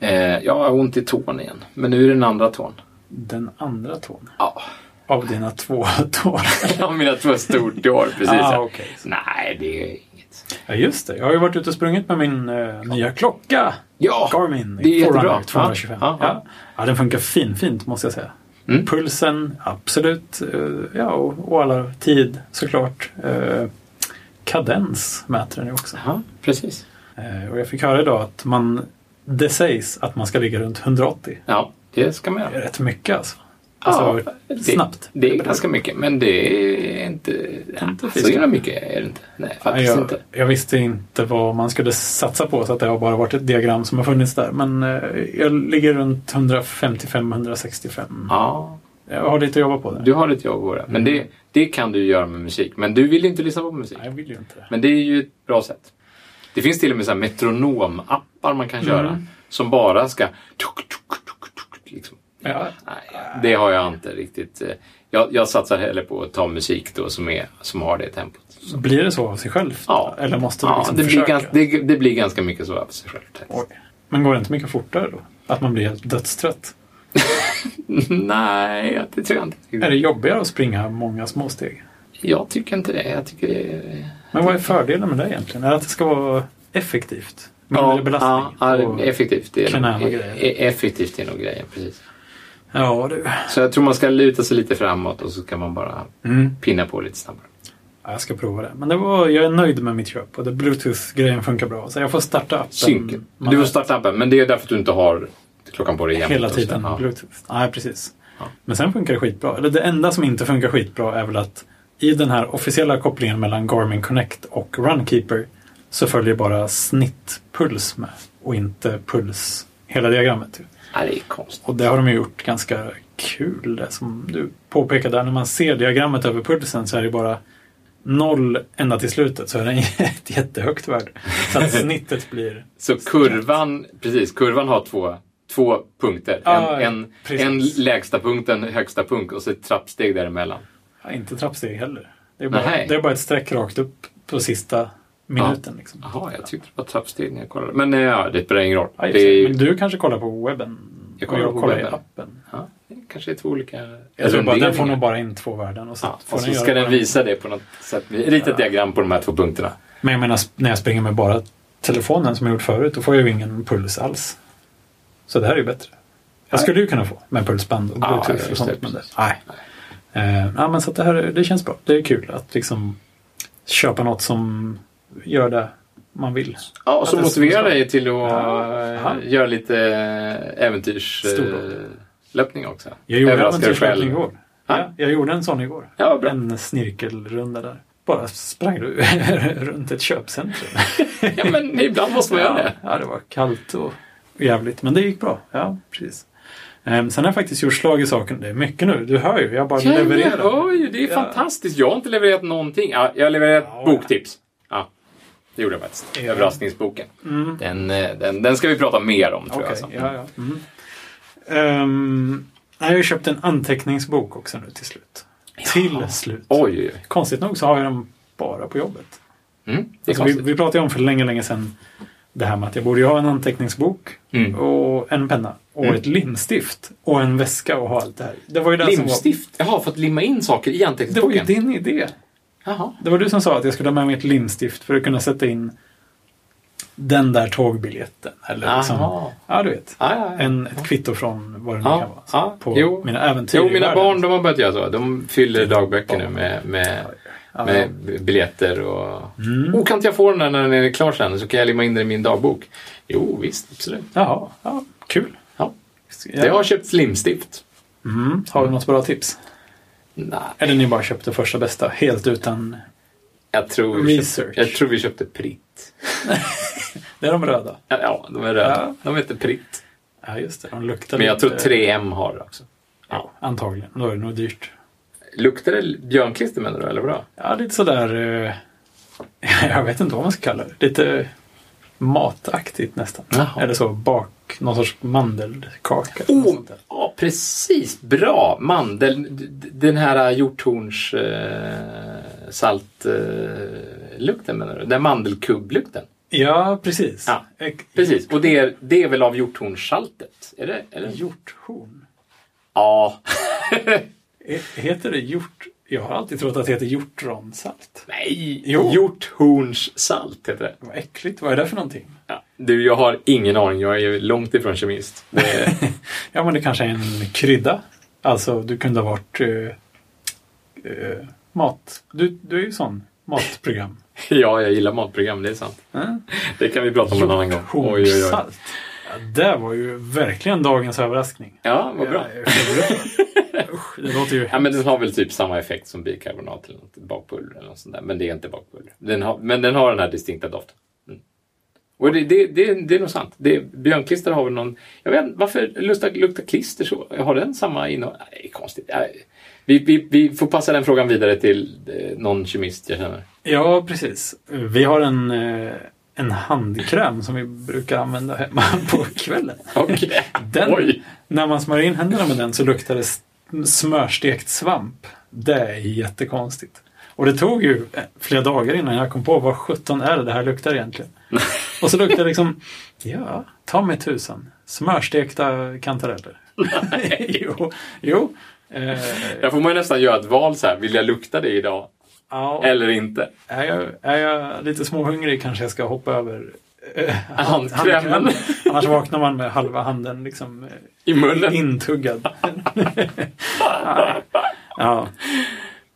S1: Eh, jag har ont i tån igen, men nu är det den andra tån.
S2: den andra tån
S1: Ja, [LAUGHS]
S2: av dina två tår.
S1: ah. mina två stortår, precis.
S2: Ah,
S1: ja.
S2: okej.
S1: Nej, det är inget.
S2: Ja, just det. Jag har ju varit ute och sprungit med min eh, nya klocka.
S1: Ja,
S2: Garmin
S1: det är jättebra.
S2: Forerunner 225.
S1: Ja,
S2: Ja,
S1: ja.
S2: ja. den funkar finfint måste jag säga.
S1: Mm.
S2: Pulsen, absolut. eh, Ja, och, och alla tid såklart. Eh, Kadens mäter den ju också.
S1: Ja, precis.
S2: Eh, Och jag fick höra idag att man, det sägs att man ska ligga runt 180.
S1: Ja, det ska man
S2: Det är
S1: göra.
S2: rätt mycket alltså.
S1: Ja,
S2: alltså snabbt.
S1: Det, det är ganska mycket, men det är inte, inte så
S2: fisk.
S1: himla mycket. Är det inte. Nej, faktiskt
S2: jag,
S1: inte.
S2: jag visste inte vad man skulle satsa på så att det har bara varit ett diagram som har funnits där. Men eh, jag ligger runt 155-165.
S1: Ja,
S2: Jag har lite att jobba på där.
S1: du har ett jobb att göra. Men
S2: Mm.
S1: det, det kan du göra med musik. Men du vill inte lyssna på musik.
S2: Nej, jag vill ju inte det.
S1: Men det är ju ett bra sätt. Det finns till och med så här metronomappar man kan
S2: Mm.
S1: köra som bara ska... Tuk, tuk, tuk, tuk, liksom.
S2: Ja,
S1: Nej, det har jag inte riktigt. eh, Jag, jag satsar hellre på att ta musik då som, är, som har det tempot.
S2: så blir det så av sig självt?
S1: Ja.
S2: Eller måste du
S1: Ja,
S2: liksom
S1: det, blir
S2: försöka?
S1: ganska, det, det blir ganska mycket så av sig självt.
S2: Oj. Men går det inte mycket fortare då? Att man blir helt dödstrött?
S1: [LAUGHS] Nej, det tror jag inte.
S2: Är det jobbigare att springa många små steg?
S1: Jag tycker inte det. Jag tycker det är...
S2: Men vad är fördelen med det egentligen? Är det att det ska vara effektivt? Mindre
S1: Ja,
S2: belastning?
S1: ja, det är
S2: och-
S1: effektivt. Det är
S2: knäna
S1: nog,
S2: grejer.
S1: e- effektivt är nog grejen, precis.
S2: ja du. Ah.
S1: Så jag tror man ska luta sig lite framåt och så kan man bara
S2: Mm.
S1: pinna på lite snabbare.
S2: Ja, jag ska prova det. Men det var, jag är nöjd med mitt köp och det Bluetooth-grejen funkar bra. Så jag får starta appen.
S1: Synken.
S2: Man-
S1: Du får starta appen, men det är därför att du inte har klockan på dig jämt.
S2: Hela
S1: och så.
S2: tiden.
S1: Ja.
S2: Bluetooth. Nej, precis.
S1: Ja.
S2: Men sen funkar det skitbra. Eller det enda som inte funkar skitbra är väl att i den här officiella kopplingen mellan Garmin Connect och Runkeeper så följer bara snittpuls med och inte puls hela diagrammet. typ.
S1: Ja, det är konstigt.
S2: Och det har de ju gjort ganska kul. Det som du påpekade, där, när man ser diagrammet över pulsen så är det bara noll ända till slutet så är det ett [LAUGHS] jättehögt värde.
S1: [LAUGHS]
S2: Så att snittet blir...
S1: Så kurvan, precis, kurvan har två, två punkter.
S2: Ah, Ja,
S1: en, en,
S2: precis.
S1: en lägsta punkt, en högsta punkt och så ett trappsteg däremellan.
S2: Ja, inte trappsteg heller. Det är, bara,
S1: Nej.
S2: det är bara ett streck rakt upp på sista minuten. Liksom.
S1: Jaha, jag tyckte det var trappsteg när jag kollade. Men eh, ja, det spelar ingen roll.
S2: Ja, just
S1: det är,
S2: det. Men du kanske kollar på webben?
S1: Jag kollar
S2: Och
S1: på
S2: i
S1: webben.
S2: appen.
S1: ja, det kanske är två olika
S2: Jag tror bara, den får
S1: runderingar.
S2: nog bara in två värden. Och så
S1: Ja,
S2: får
S1: och så
S2: den
S1: ska
S2: göra
S1: den
S2: vad
S1: visa det på något sätt. Ett litet diagram på de här två punkterna.
S2: Men jag menar, sp- när jag springer med bara telefonen som jag gjort förut, då får jag ju ingen puls alls. Så det här är ju bättre. Jag skulle ju kunna få med pulsband och
S1: Ja,
S2: bluetooth
S1: just det,
S2: och sånt. Men det,
S1: precis.
S2: nej. Eh, ja, men så att det här är- det känns bra. Det är kul att liksom köpa något som gör det man vill.
S1: Ja, och som
S2: Att det
S1: motiverar
S2: ska-
S1: dig till att
S2: Ja.
S1: eh,
S2: Ja.
S1: göra lite eh,
S2: Storlåt.
S1: äventyrslöpning också.
S2: Jag gjorde
S1: Överraska dig
S2: en själv.
S1: själv.
S2: igår.
S1: Ja.
S2: Ja, jag gjorde en sån igår.
S1: Ja, bra.
S2: En snirkelrunda där. Bara sprang du [LAUGHS] runt ett köpcentrum.
S1: Ja, men ibland måste man göra
S2: Ja,
S1: det.
S2: ja, det var kallt och jävligt. Men det gick bra. Ja, precis. Ehm, sen har jag faktiskt gjort slag i saken. Det är mycket nu. Du hör ju. Jag bara
S1: Ja, jag
S2: levererar.
S1: hör ju. Det är
S2: Ja.
S1: fantastiskt. Jag har inte levererat någonting. Ja, jag har levererat
S2: Ja.
S1: boktips. Ja, det gjorde jag faktiskt.
S2: Ja.
S1: Överraskningsboken.
S2: Mm.
S1: Den, eh, den, den ska vi prata mer om, tror
S2: Okej,
S1: jag. alltså. sen.
S2: ja, ja. Mm. Ehm, nej, jag har ju köpt en anteckningsbok också nu till slut. Till slut.
S1: Oj, oj, oj.
S2: Konstigt nog så har jag dem bara på jobbet.
S1: Mm, det är
S2: Alltså, vi,
S1: konstigt.
S2: vi pratade ju om för länge, länge sedan det här med att jag borde ju ha en anteckningsbok
S1: Mm.
S2: och en penna och
S1: Mm.
S2: ett limstift och en väska och ha allt det här. Det var ju det som
S1: Limstift? Jaha, för att limma in saker i
S2: var... Det var ju
S1: anteckningsboken?
S2: din idé.
S1: Jaha.
S2: Det var du som sa att jag skulle ha med mig ett limstift för att kunna sätta in den där tågbiljetten. Eller liksom,
S1: Jaha.
S2: ja, du vet.
S1: Ja, ja, ja.
S2: En, ett kvitto från vad det nu
S1: Ja,
S2: kan vara. Så
S1: ja,
S2: på
S1: jo.
S2: mina äventyr
S1: Jo,
S2: i
S1: mina
S2: världen.
S1: barn de har börjat göra så. De fyller dagböcker nu med, med,
S2: Mm. Ja. Mm.
S1: med biljetter och... Oh, kan inte jag få den där när den är klar sen så kan jag limma in den i min dagbok? Jo, visst, absolut.
S2: Jaha, ja, kul.
S1: Ja.
S2: Ja.
S1: Jag har köpt slimstift.
S2: Mm. Har du något bra tips?
S1: Nej,
S2: Eller ni bara köpte första bästa helt utan...
S1: jag tror vi,
S2: Research.
S1: Köpte, jag tror vi köpte Pritt.
S2: Det är de röda.
S1: Ja, Ja, de är röda.
S2: Ja.
S1: De heter Pritt.
S2: Ja, just det. De luktar
S1: Men jag tror
S2: lite-
S1: 3M har det också.
S2: Ja, antagligen. Då är det nog dyrt.
S1: Luktar det björnklister menar du, eller vadå?
S2: Ja, lite sådär... Eh, [LAUGHS] jag vet inte vad man ska kalla det. Lite mataktigt nästan.
S1: Jaha.
S2: Eller så bak... Någon sorts mandelkaka. eller något
S1: Oh,
S2: sånt där.
S1: ja, precis. Bra. Mandel... d- d- Den här hjorthorns eh, saltlukten menar du? Den mandelkubblukten.
S2: Ja, precis. Eh,
S1: Ja,
S2: Ek-
S1: Precis. Och det är, det är väl av hjorthornssaltet? Är det? Eller?
S2: Hjorthorn.
S1: Ja.
S2: E- Heter det hjort... Jag har alltid trott att det heter hjortronsalt.
S1: Nej.
S2: Jo.
S1: Hjorthornssalt heter det.
S2: Vad äckligt. Vad är det för någonting?
S1: Ja. Du, jag har ingen aning. Jag är ju långt ifrån kemist. Det är-
S2: Ja, men det kanske är en krydda. Alltså, du kunde ha varit... Eh, eh, mat... Du, du är ju sån. Matprogram.
S1: ja, jag gillar matprogram. Det är sant.
S2: Mm.
S1: Det kan vi prata om en annan gång. Oj, oj, oj.
S2: Hjorthornssalt. Ja, det var ju verkligen dagens överraskning.
S1: Ja, vad bra.
S2: Jag är förberedd. Usch, det låter ju
S1: Ja, men den har väl typ samma effekt som bikarbonat eller något, bakpulver eller något sånt där. Men det är inte bakpulver. Den har, men den har den här distinkta doften. Mm. Och det, det, det, det är nog sant. Det, björnklister har väl någon... Jag vet inte, varför luktar, luktar klister så? Har den samma innehåll? Nej, Det är konstigt. Nej. Vi, vi, vi får passa den frågan vidare till eh, någon kemist jag känner.
S2: Ja, precis. Vi har en, eh, en handkräm som vi brukar använda hemma på kvällen.
S1: [LAUGHS] Okej.
S2: Den,
S1: Oj!
S2: När man smörjer in händerna med den så luktar det s- smörstekt svamp. Det är jättekonstigt. Och det tog ju eh, flera dagar innan jag kom på vad sjutton är det det här
S1: [LAUGHS]
S2: luktar egentligen. Och så luktar det liksom, ja, ta mig tusan, smörstekta kantareller. [LAUGHS] jo, jo. Eh,
S1: Där får man ju nästan göra ett val så här. Vill jag lukta det idag
S2: ja,
S1: eller inte?
S2: är, jag, är jag lite småhungrig kanske jag ska hoppa över eh, hand-
S1: Handkrämen.
S2: Annars vaknar man med halva handen liksom eh,
S1: I munnen?
S2: intuggad. ja.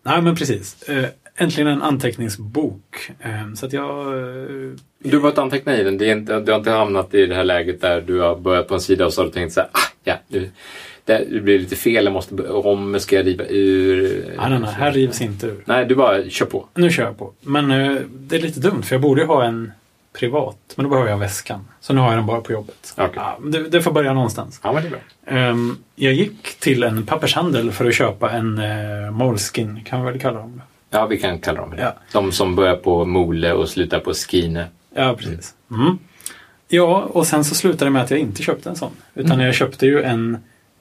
S2: Nej, men precis. Eh, äntligen en anteckningsbok. Eh, Så att jag... eh,
S1: Du har börjat anteckna i den. Det är inte, du har inte hamnat i det här läget där du har börjat på en sida och så har du tänkt så här, ah, ja, nu, det, det blir lite fel, jag måste, bör- om ska jag riva ur...
S2: Nej, nej, nej, här rivs inte ur.
S1: Nej, du bara kör på.
S2: Nu kör jag på. Men eh, det är lite dumt för jag borde ju ha en privat. Men då behöver jag väskan. Så nu har jag den bara på jobbet.
S1: Okej.
S2: Ja, det, det får börja någonstans.
S1: Ja, men det är bra.
S2: Ehm, jag gick till en pappershandel för att köpa en uh, Moleskin, kan vi väl kalla dem.
S1: Ja, vi kan kalla dem det.
S2: Ja.
S1: De som börjar på mole och slutar på skine.
S2: Ja, precis. Mm. Ja, och sen så slutade det med att jag inte köpte en sån. Utan jag köpte ju en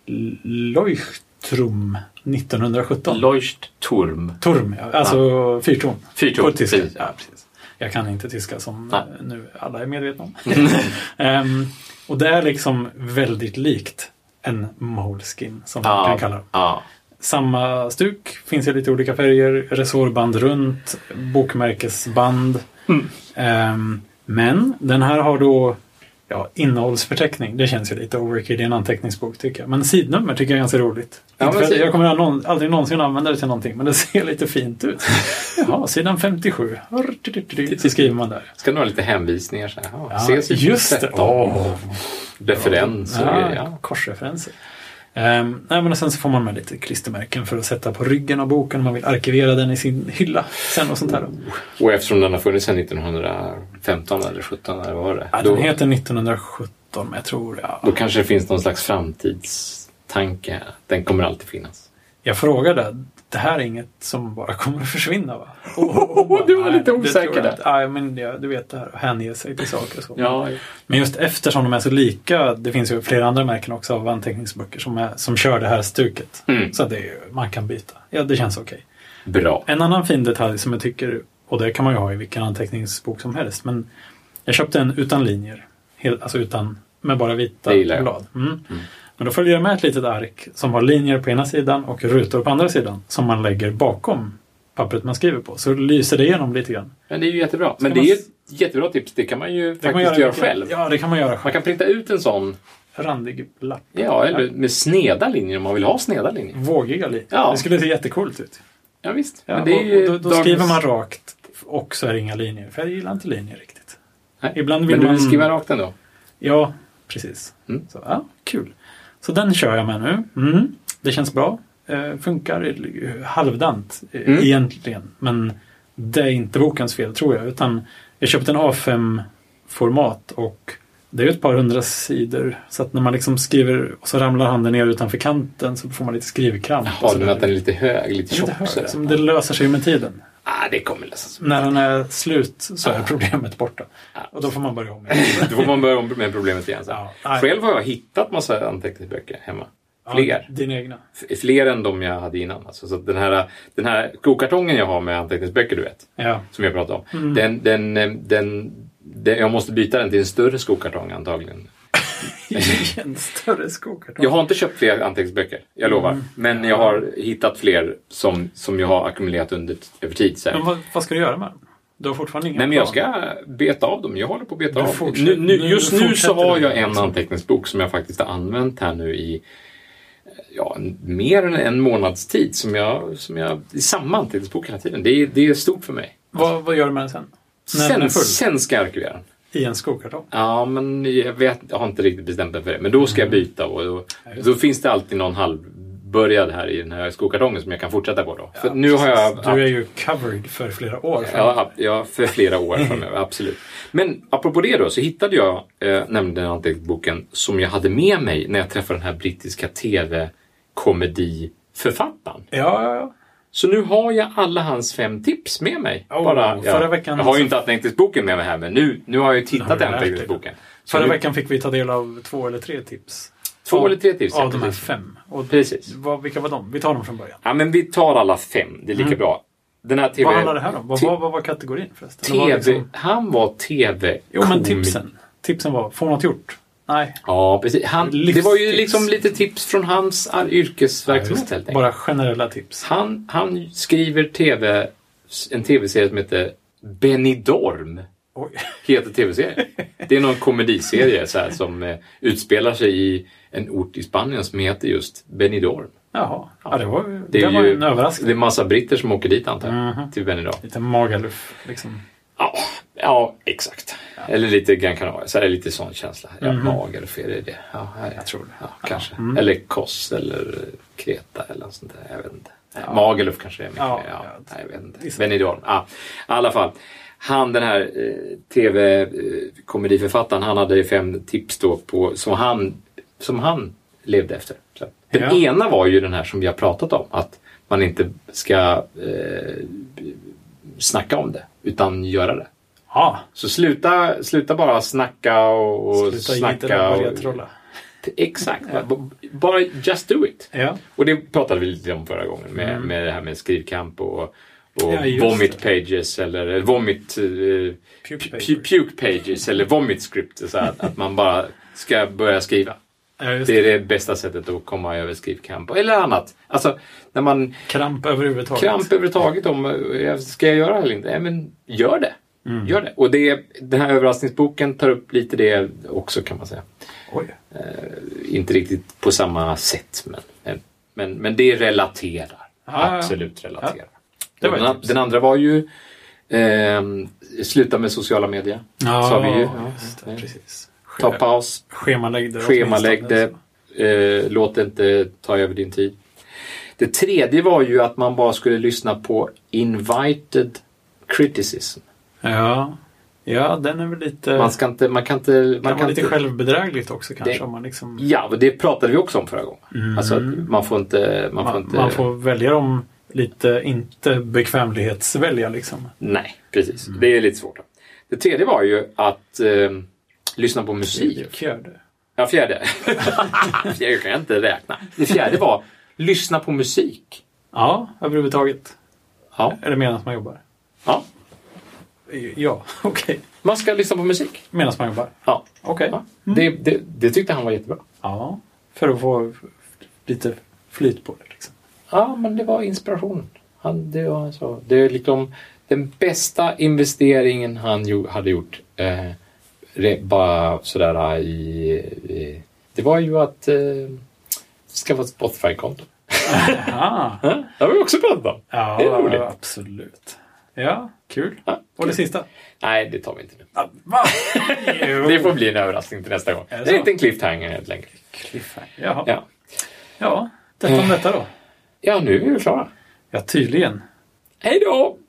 S2: L- Leuchtturm 1917.
S1: Leuchtturm.
S2: Turm, ja. alltså fyrtorn.
S1: Fyrtorn,
S2: På tyska.
S1: precis.
S2: Ja, precis. Jag kan inte tyska som
S1: Nej.
S2: eh, nu alla är medvetna om. Ehm, och det är liksom väldigt likt en Moleskin, som man kan kalla dem.
S1: ja.
S2: Samma stuk, finns i lite olika färger, resårband runt, bokmärkesband.
S1: Mm.
S2: Ehm, men den här har då ja, innehållsförteckning. Det känns ju lite overkill i en anteckningsbok tycker jag. Men sidnummer tycker jag är ganska roligt.
S1: Ja,
S2: Inte
S1: men
S2: för att
S1: sid-
S2: jag kommer någon, aldrig någonsin använda det till någonting, men det ser lite
S1: [LAUGHS]
S2: fint ut. Jaha, sidan 57. Så skriver man där.
S1: Ska nog ha lite hänvisningar så här. Ja,
S2: Ja,
S1: ses i
S2: just det!
S1: 17.
S2: Åh.
S1: Referenser.
S2: Ja,
S1: Ja. Ja.
S2: Korsreferenser. Ehm, nej, men och sen så får man med lite klistermärken för att sätta på ryggen av boken om man vill arkivera den i sin hylla sen och sånt här.
S1: Och eftersom den har funnits sedan 1915 eller 17 eller vad var det?
S2: Ja,
S1: då,
S2: den heter 1917, men jag tror... Ja.
S1: då kanske det finns någon slags framtidstanke. här. Den kommer alltid finnas.
S2: Jag frågade, det här är inget som bara kommer att försvinna va? Och- och-
S1: [LAUGHS]
S2: och-
S1: Du var
S2: nej,
S1: lite
S2: det tror
S1: osäker
S2: jag
S1: där.
S2: inte. Nej, men ja, du vet det här att hänge sig till saker och så.
S1: Ja,
S2: Men just eftersom de är så lika, det finns ju flera andra märken också av anteckningsböcker som, är, som kör det här stuket.
S1: Mm.
S2: Så det är, ju- man kan byta. Ja, det känns okej.
S1: bra.
S2: En annan fin detalj som jag tycker, och det kan man ju ha i vilken anteckningsbok som helst, men jag köpte en utan linjer. Helt, alltså utan, med bara vita
S1: Det gillar jag.
S2: blad. Mm. Men då följer jag med ett litet ark som har linjer på ena sidan och rutor på andra sidan som man lägger bakom pappret man skriver på. Så lyser det igenom lite grann.
S1: Men det är ju jättebra. Men det
S2: man
S1: är ju
S2: s-
S1: ett jättebra tips. Det kan man ju
S2: Det
S1: faktiskt
S2: kan man
S1: göra,
S2: mycket-
S1: själv.
S2: Ja, det kan man göra
S1: Man
S2: själv.
S1: kan printa ut en sån.
S2: Randig lapp.
S1: Ja, eller med sneda linjer om man vill ha sneda linjer.
S2: Vågiga linjer.
S1: Ja.
S2: Det skulle se jättecoolt ut.
S1: Ja, visst.
S2: Ja,
S1: Men det är ju
S2: och då då
S1: dagens-
S2: skriver man rakt och så är det inga linjer. För jag gillar inte linjer riktigt.
S1: Nej.
S2: Ibland vill
S1: Men du vill
S2: man-
S1: skriva rakt ändå?
S2: Ja, precis.
S1: Mm.
S2: Så, ja, kul. Så den kör jag med nu. Mm. Det känns bra. Eh, funkar eh, halvdant eh,
S1: Mm.
S2: egentligen. Men det är inte bokens fel tror jag. Utan jag köpte en A5-format och det är ju ett par hundra sidor. Så att när man liksom skriver och så ramlar handen ner utanför kanten så får man lite skrivkramp. och
S1: Har
S2: sådär.
S1: den att den är lite hög, lite
S2: Lite
S1: tjock?
S2: hög,
S1: sådär.
S2: som liksom, det löser sig med tiden.
S1: Ah, det kommer lösa sig.
S2: När den är slut så är problemet borta. Och då får man börja
S1: [LAUGHS]
S2: om igen.
S1: [LAUGHS] Då får man börja om med problemet igen. Så.
S2: Ja, nej.
S1: Själv har jag hittat massa anteckningsböcker hemma.
S2: Ja,
S1: Fler.
S2: Dina egna.
S1: F- Fler än de jag hade innan. Alltså, så att den här, den här kokartongen jag har med anteckningsböcker, du vet,
S2: Ja.
S1: som jag pratade om. Den, den, eh, den, den, jag måste byta den till en större skokartong antagligen.
S2: en större skokartong.
S1: Jag har inte köpt fler anteckningsböcker, jag lovar. Men jag har hittat fler som, som jag har ackumulerat under, över tid. Så här.
S2: Men vad, vad ska du göra med den? Du har fortfarande ingen
S1: Nej, men jag
S2: plan.
S1: ska beta av dem. Jag håller på att beta
S2: Du
S1: av.
S2: fortsätter-
S1: Nu, nu,
S2: nu
S1: just nu så
S2: fortsätter alltså.
S1: har
S2: du.
S1: jag en anteckningsbok som jag faktiskt har använt här nu i eh, ja, en- mer än en månads tid. Som jag, som jag, i samma anteckningsbok hela tiden. Det är, det är stort för mig.
S2: Vad, vad gör du med den sen? När den är
S1: Sen,
S2: full?
S1: sen ska jag arkivera den.
S2: I en skokartong?
S1: Ja, men jag, vet, jag har inte riktigt bestämt mig för det. Men då ska jag
S2: Mm.
S1: byta och då, då finns det alltid någon halvbörjad här i den här skokartongen som jag kan fortsätta på då. för nu har jag
S2: Du är ju covered för flera år. framåt.
S1: Ja, ja, för flera
S2: [LAUGHS]
S1: år framöver, absolut. Men apropå det då, så hittade jag eh, nämligen anteckningsboken som jag hade med mig när jag träffade den här brittiska tv-komediförfattaren.
S2: ja, ja, ja.
S1: Så nu har jag alla hans fem tips med mig.
S2: Oh,
S1: ja.
S2: förra veckan-
S1: jag har ju inte anteckningsboken med mig här, men nu, nu har jag ju
S2: har
S1: tittat
S2: du
S1: i
S2: lärt dig.
S1: anteckningsboken. Så
S2: Förra
S1: nu-
S2: veckan fick vi ta del av två eller tre tips.
S1: Två
S2: Av-
S1: eller tre tips,
S2: Av
S1: ja,
S2: de här
S1: precis.
S2: fem. Och
S1: Precis.
S2: Vad, vilka var de? Vi tar dem från början.
S1: Ja, men vi tar alla fem, det är lika bra. Den här TV...
S2: Mm. Vad handlar det här om? Vad,
S1: T-
S2: vad, vad var kategorin förresten? Det
S1: TV...
S2: var liksom-
S1: Han var tv
S2: Jo, men tipsen. Tipsen var, få något gjort. Nej.
S1: Ja, precis. Han, det
S2: Livstips.
S1: var ju liksom lite tips från hans ar- yrkesverksamhet helt enkelt.
S2: Bara generella tips.
S1: Han, han skriver TV, en tv-serie som heter Benidorm.
S2: Oj. [LAUGHS]
S1: Heter tv-serien. Det är någon komediserie så här, som eh, utspelar sig i en ort i Spanien som heter just Benidorm.
S2: Jaha, ja, det var, det
S1: Det är
S2: var
S1: ju
S2: ju en överraskning.
S1: Det är massa britter som åker dit antar jag,
S2: Mhm.
S1: till Benidorm.
S2: Lite magaluff liksom.
S1: Ja, ja exakt. Eller lite Gran Canaria, så här, lite sån känsla. Ja,
S2: Mhm.
S1: Mager, fel är det. Ja, ja, ja.
S2: Jag tror det.
S1: Ja, kanske.
S2: Mm.
S1: Eller Kos eller Kreta eller något sånt där. Jag vet inte.
S2: Ja.
S1: Magaluf kanske det är mycket
S2: Ja,
S1: mer. Ja,
S2: ja.
S1: nej, jag vet inte.
S2: Visst.
S1: Benidorm. Ja. I alla fall. Han den här eh, tv-komediförfattaren, han hade ju fem tips då på, som, han, som han levde efter. Så. Den
S2: Ja.
S1: ena var ju den här som vi har pratat om, att man inte ska eh, snacka om det, utan göra det.
S2: Ja,
S1: Så sluta, sluta bara snacka och, och
S2: sluta
S1: snacka.
S2: gidra och börja
S1: och-
S2: trolla.
S1: Exakt. Eh, B- Bara just do it.
S2: Ja.
S1: Och det pratade vi lite om förra gången med,
S2: Mm.
S1: med det här med skrivkamp och, och
S2: Ja, just
S1: vomit
S2: det.
S1: pages eller eh, vomit... eh,
S2: Puke
S1: pu-
S2: paper.
S1: pu- puke pages eller vomit script. Så att, att man bara ska börja skriva.
S2: Ja, just
S1: Det
S2: det.
S1: är det bästa sättet att komma över skrivkamp. Eller annat. Alltså, när man
S2: Kramp överhuvudtaget.
S1: kramp överhuvudtaget om eh, ska jag göra det eller inte? Ja, men gör det.
S2: Mm.
S1: Gör det. Och det, den här överraskningsboken tar upp lite det också kan man säga.
S2: Oj.
S1: Inte riktigt på samma sätt, men, men, men, men det relaterar.
S2: Ja,
S1: Absolut relaterar.
S2: Det var ett
S1: den, an-
S2: tips.
S1: den andra var ju ehm, sluta med sociala medier.
S2: Ja,
S1: sa vi ju. Eh,
S2: just det.
S1: Ja.
S2: Precis.
S1: Ta paus,
S2: Schemalägg det.
S1: schemalägg det,
S2: åtminstone.
S1: eh, låt det inte ta över din tid. Det tredje var ju att man bara skulle lyssna på invited criticism.
S2: Ja. ja, den är väl lite...
S1: Man, ska inte, man kan inte...
S2: Mm. kan vara lite
S1: inte,
S2: självbedrägligt också kanske.
S1: Det-
S2: om man, liksom,
S1: ja, och det pratade vi också om förra gången.
S2: Mm.
S1: Alltså, att man får inte... Man får
S2: man,
S1: inte
S2: man får välja dem lite, inte bekvämlighetsvälja liksom.
S1: Nej, precis. Det är lite svårt. Det tredje var ju att ehm, lyssna på musik.
S2: Fjärde.
S1: Ja, fjärde. [LAUGHS] fjärde kan jag inte räkna. Det fjärde var lyssna på musik.
S2: Ja, överhuvudtaget.
S1: Ja,
S2: Eller medan man jobbar.
S1: ja.
S2: Ja, [LAUGHS] okej.
S1: man ska lyssna på musik.
S2: Medan man jobbar.
S1: Ja.
S2: Okej.
S1: Ja. Det, det, det tyckte han var jättebra.
S2: Ja, för att få lite flyt på det. Liksom.
S1: Ja, men det var inspiration. Han, det, var så. det är liksom den bästa investeringen han jo, hade gjort. Eh, re, bara sådär eh, i, i... Det var ju att eh, skaffa ett Spotify-konto.
S2: Jaha.
S1: Ja, Det har vi också pratat om.
S2: Ja,
S1: Det är roligt.
S2: absolut. Ja, kul.
S1: Ja,
S2: Och det sista?
S1: Nej, det tar vi inte nu.
S2: [LAUGHS] Va? Jo.
S1: Det får bli en överraskning till nästa gång. Det
S2: Är det
S1: är
S2: så?
S1: inte en cliffhanger helt enkelt.
S2: Cliffhanger. Jaha. Ja.
S1: Ja.
S2: ja, detta om detta då.
S1: ja, nu är vi klara.
S2: Ja, tydligen.
S1: Hej då!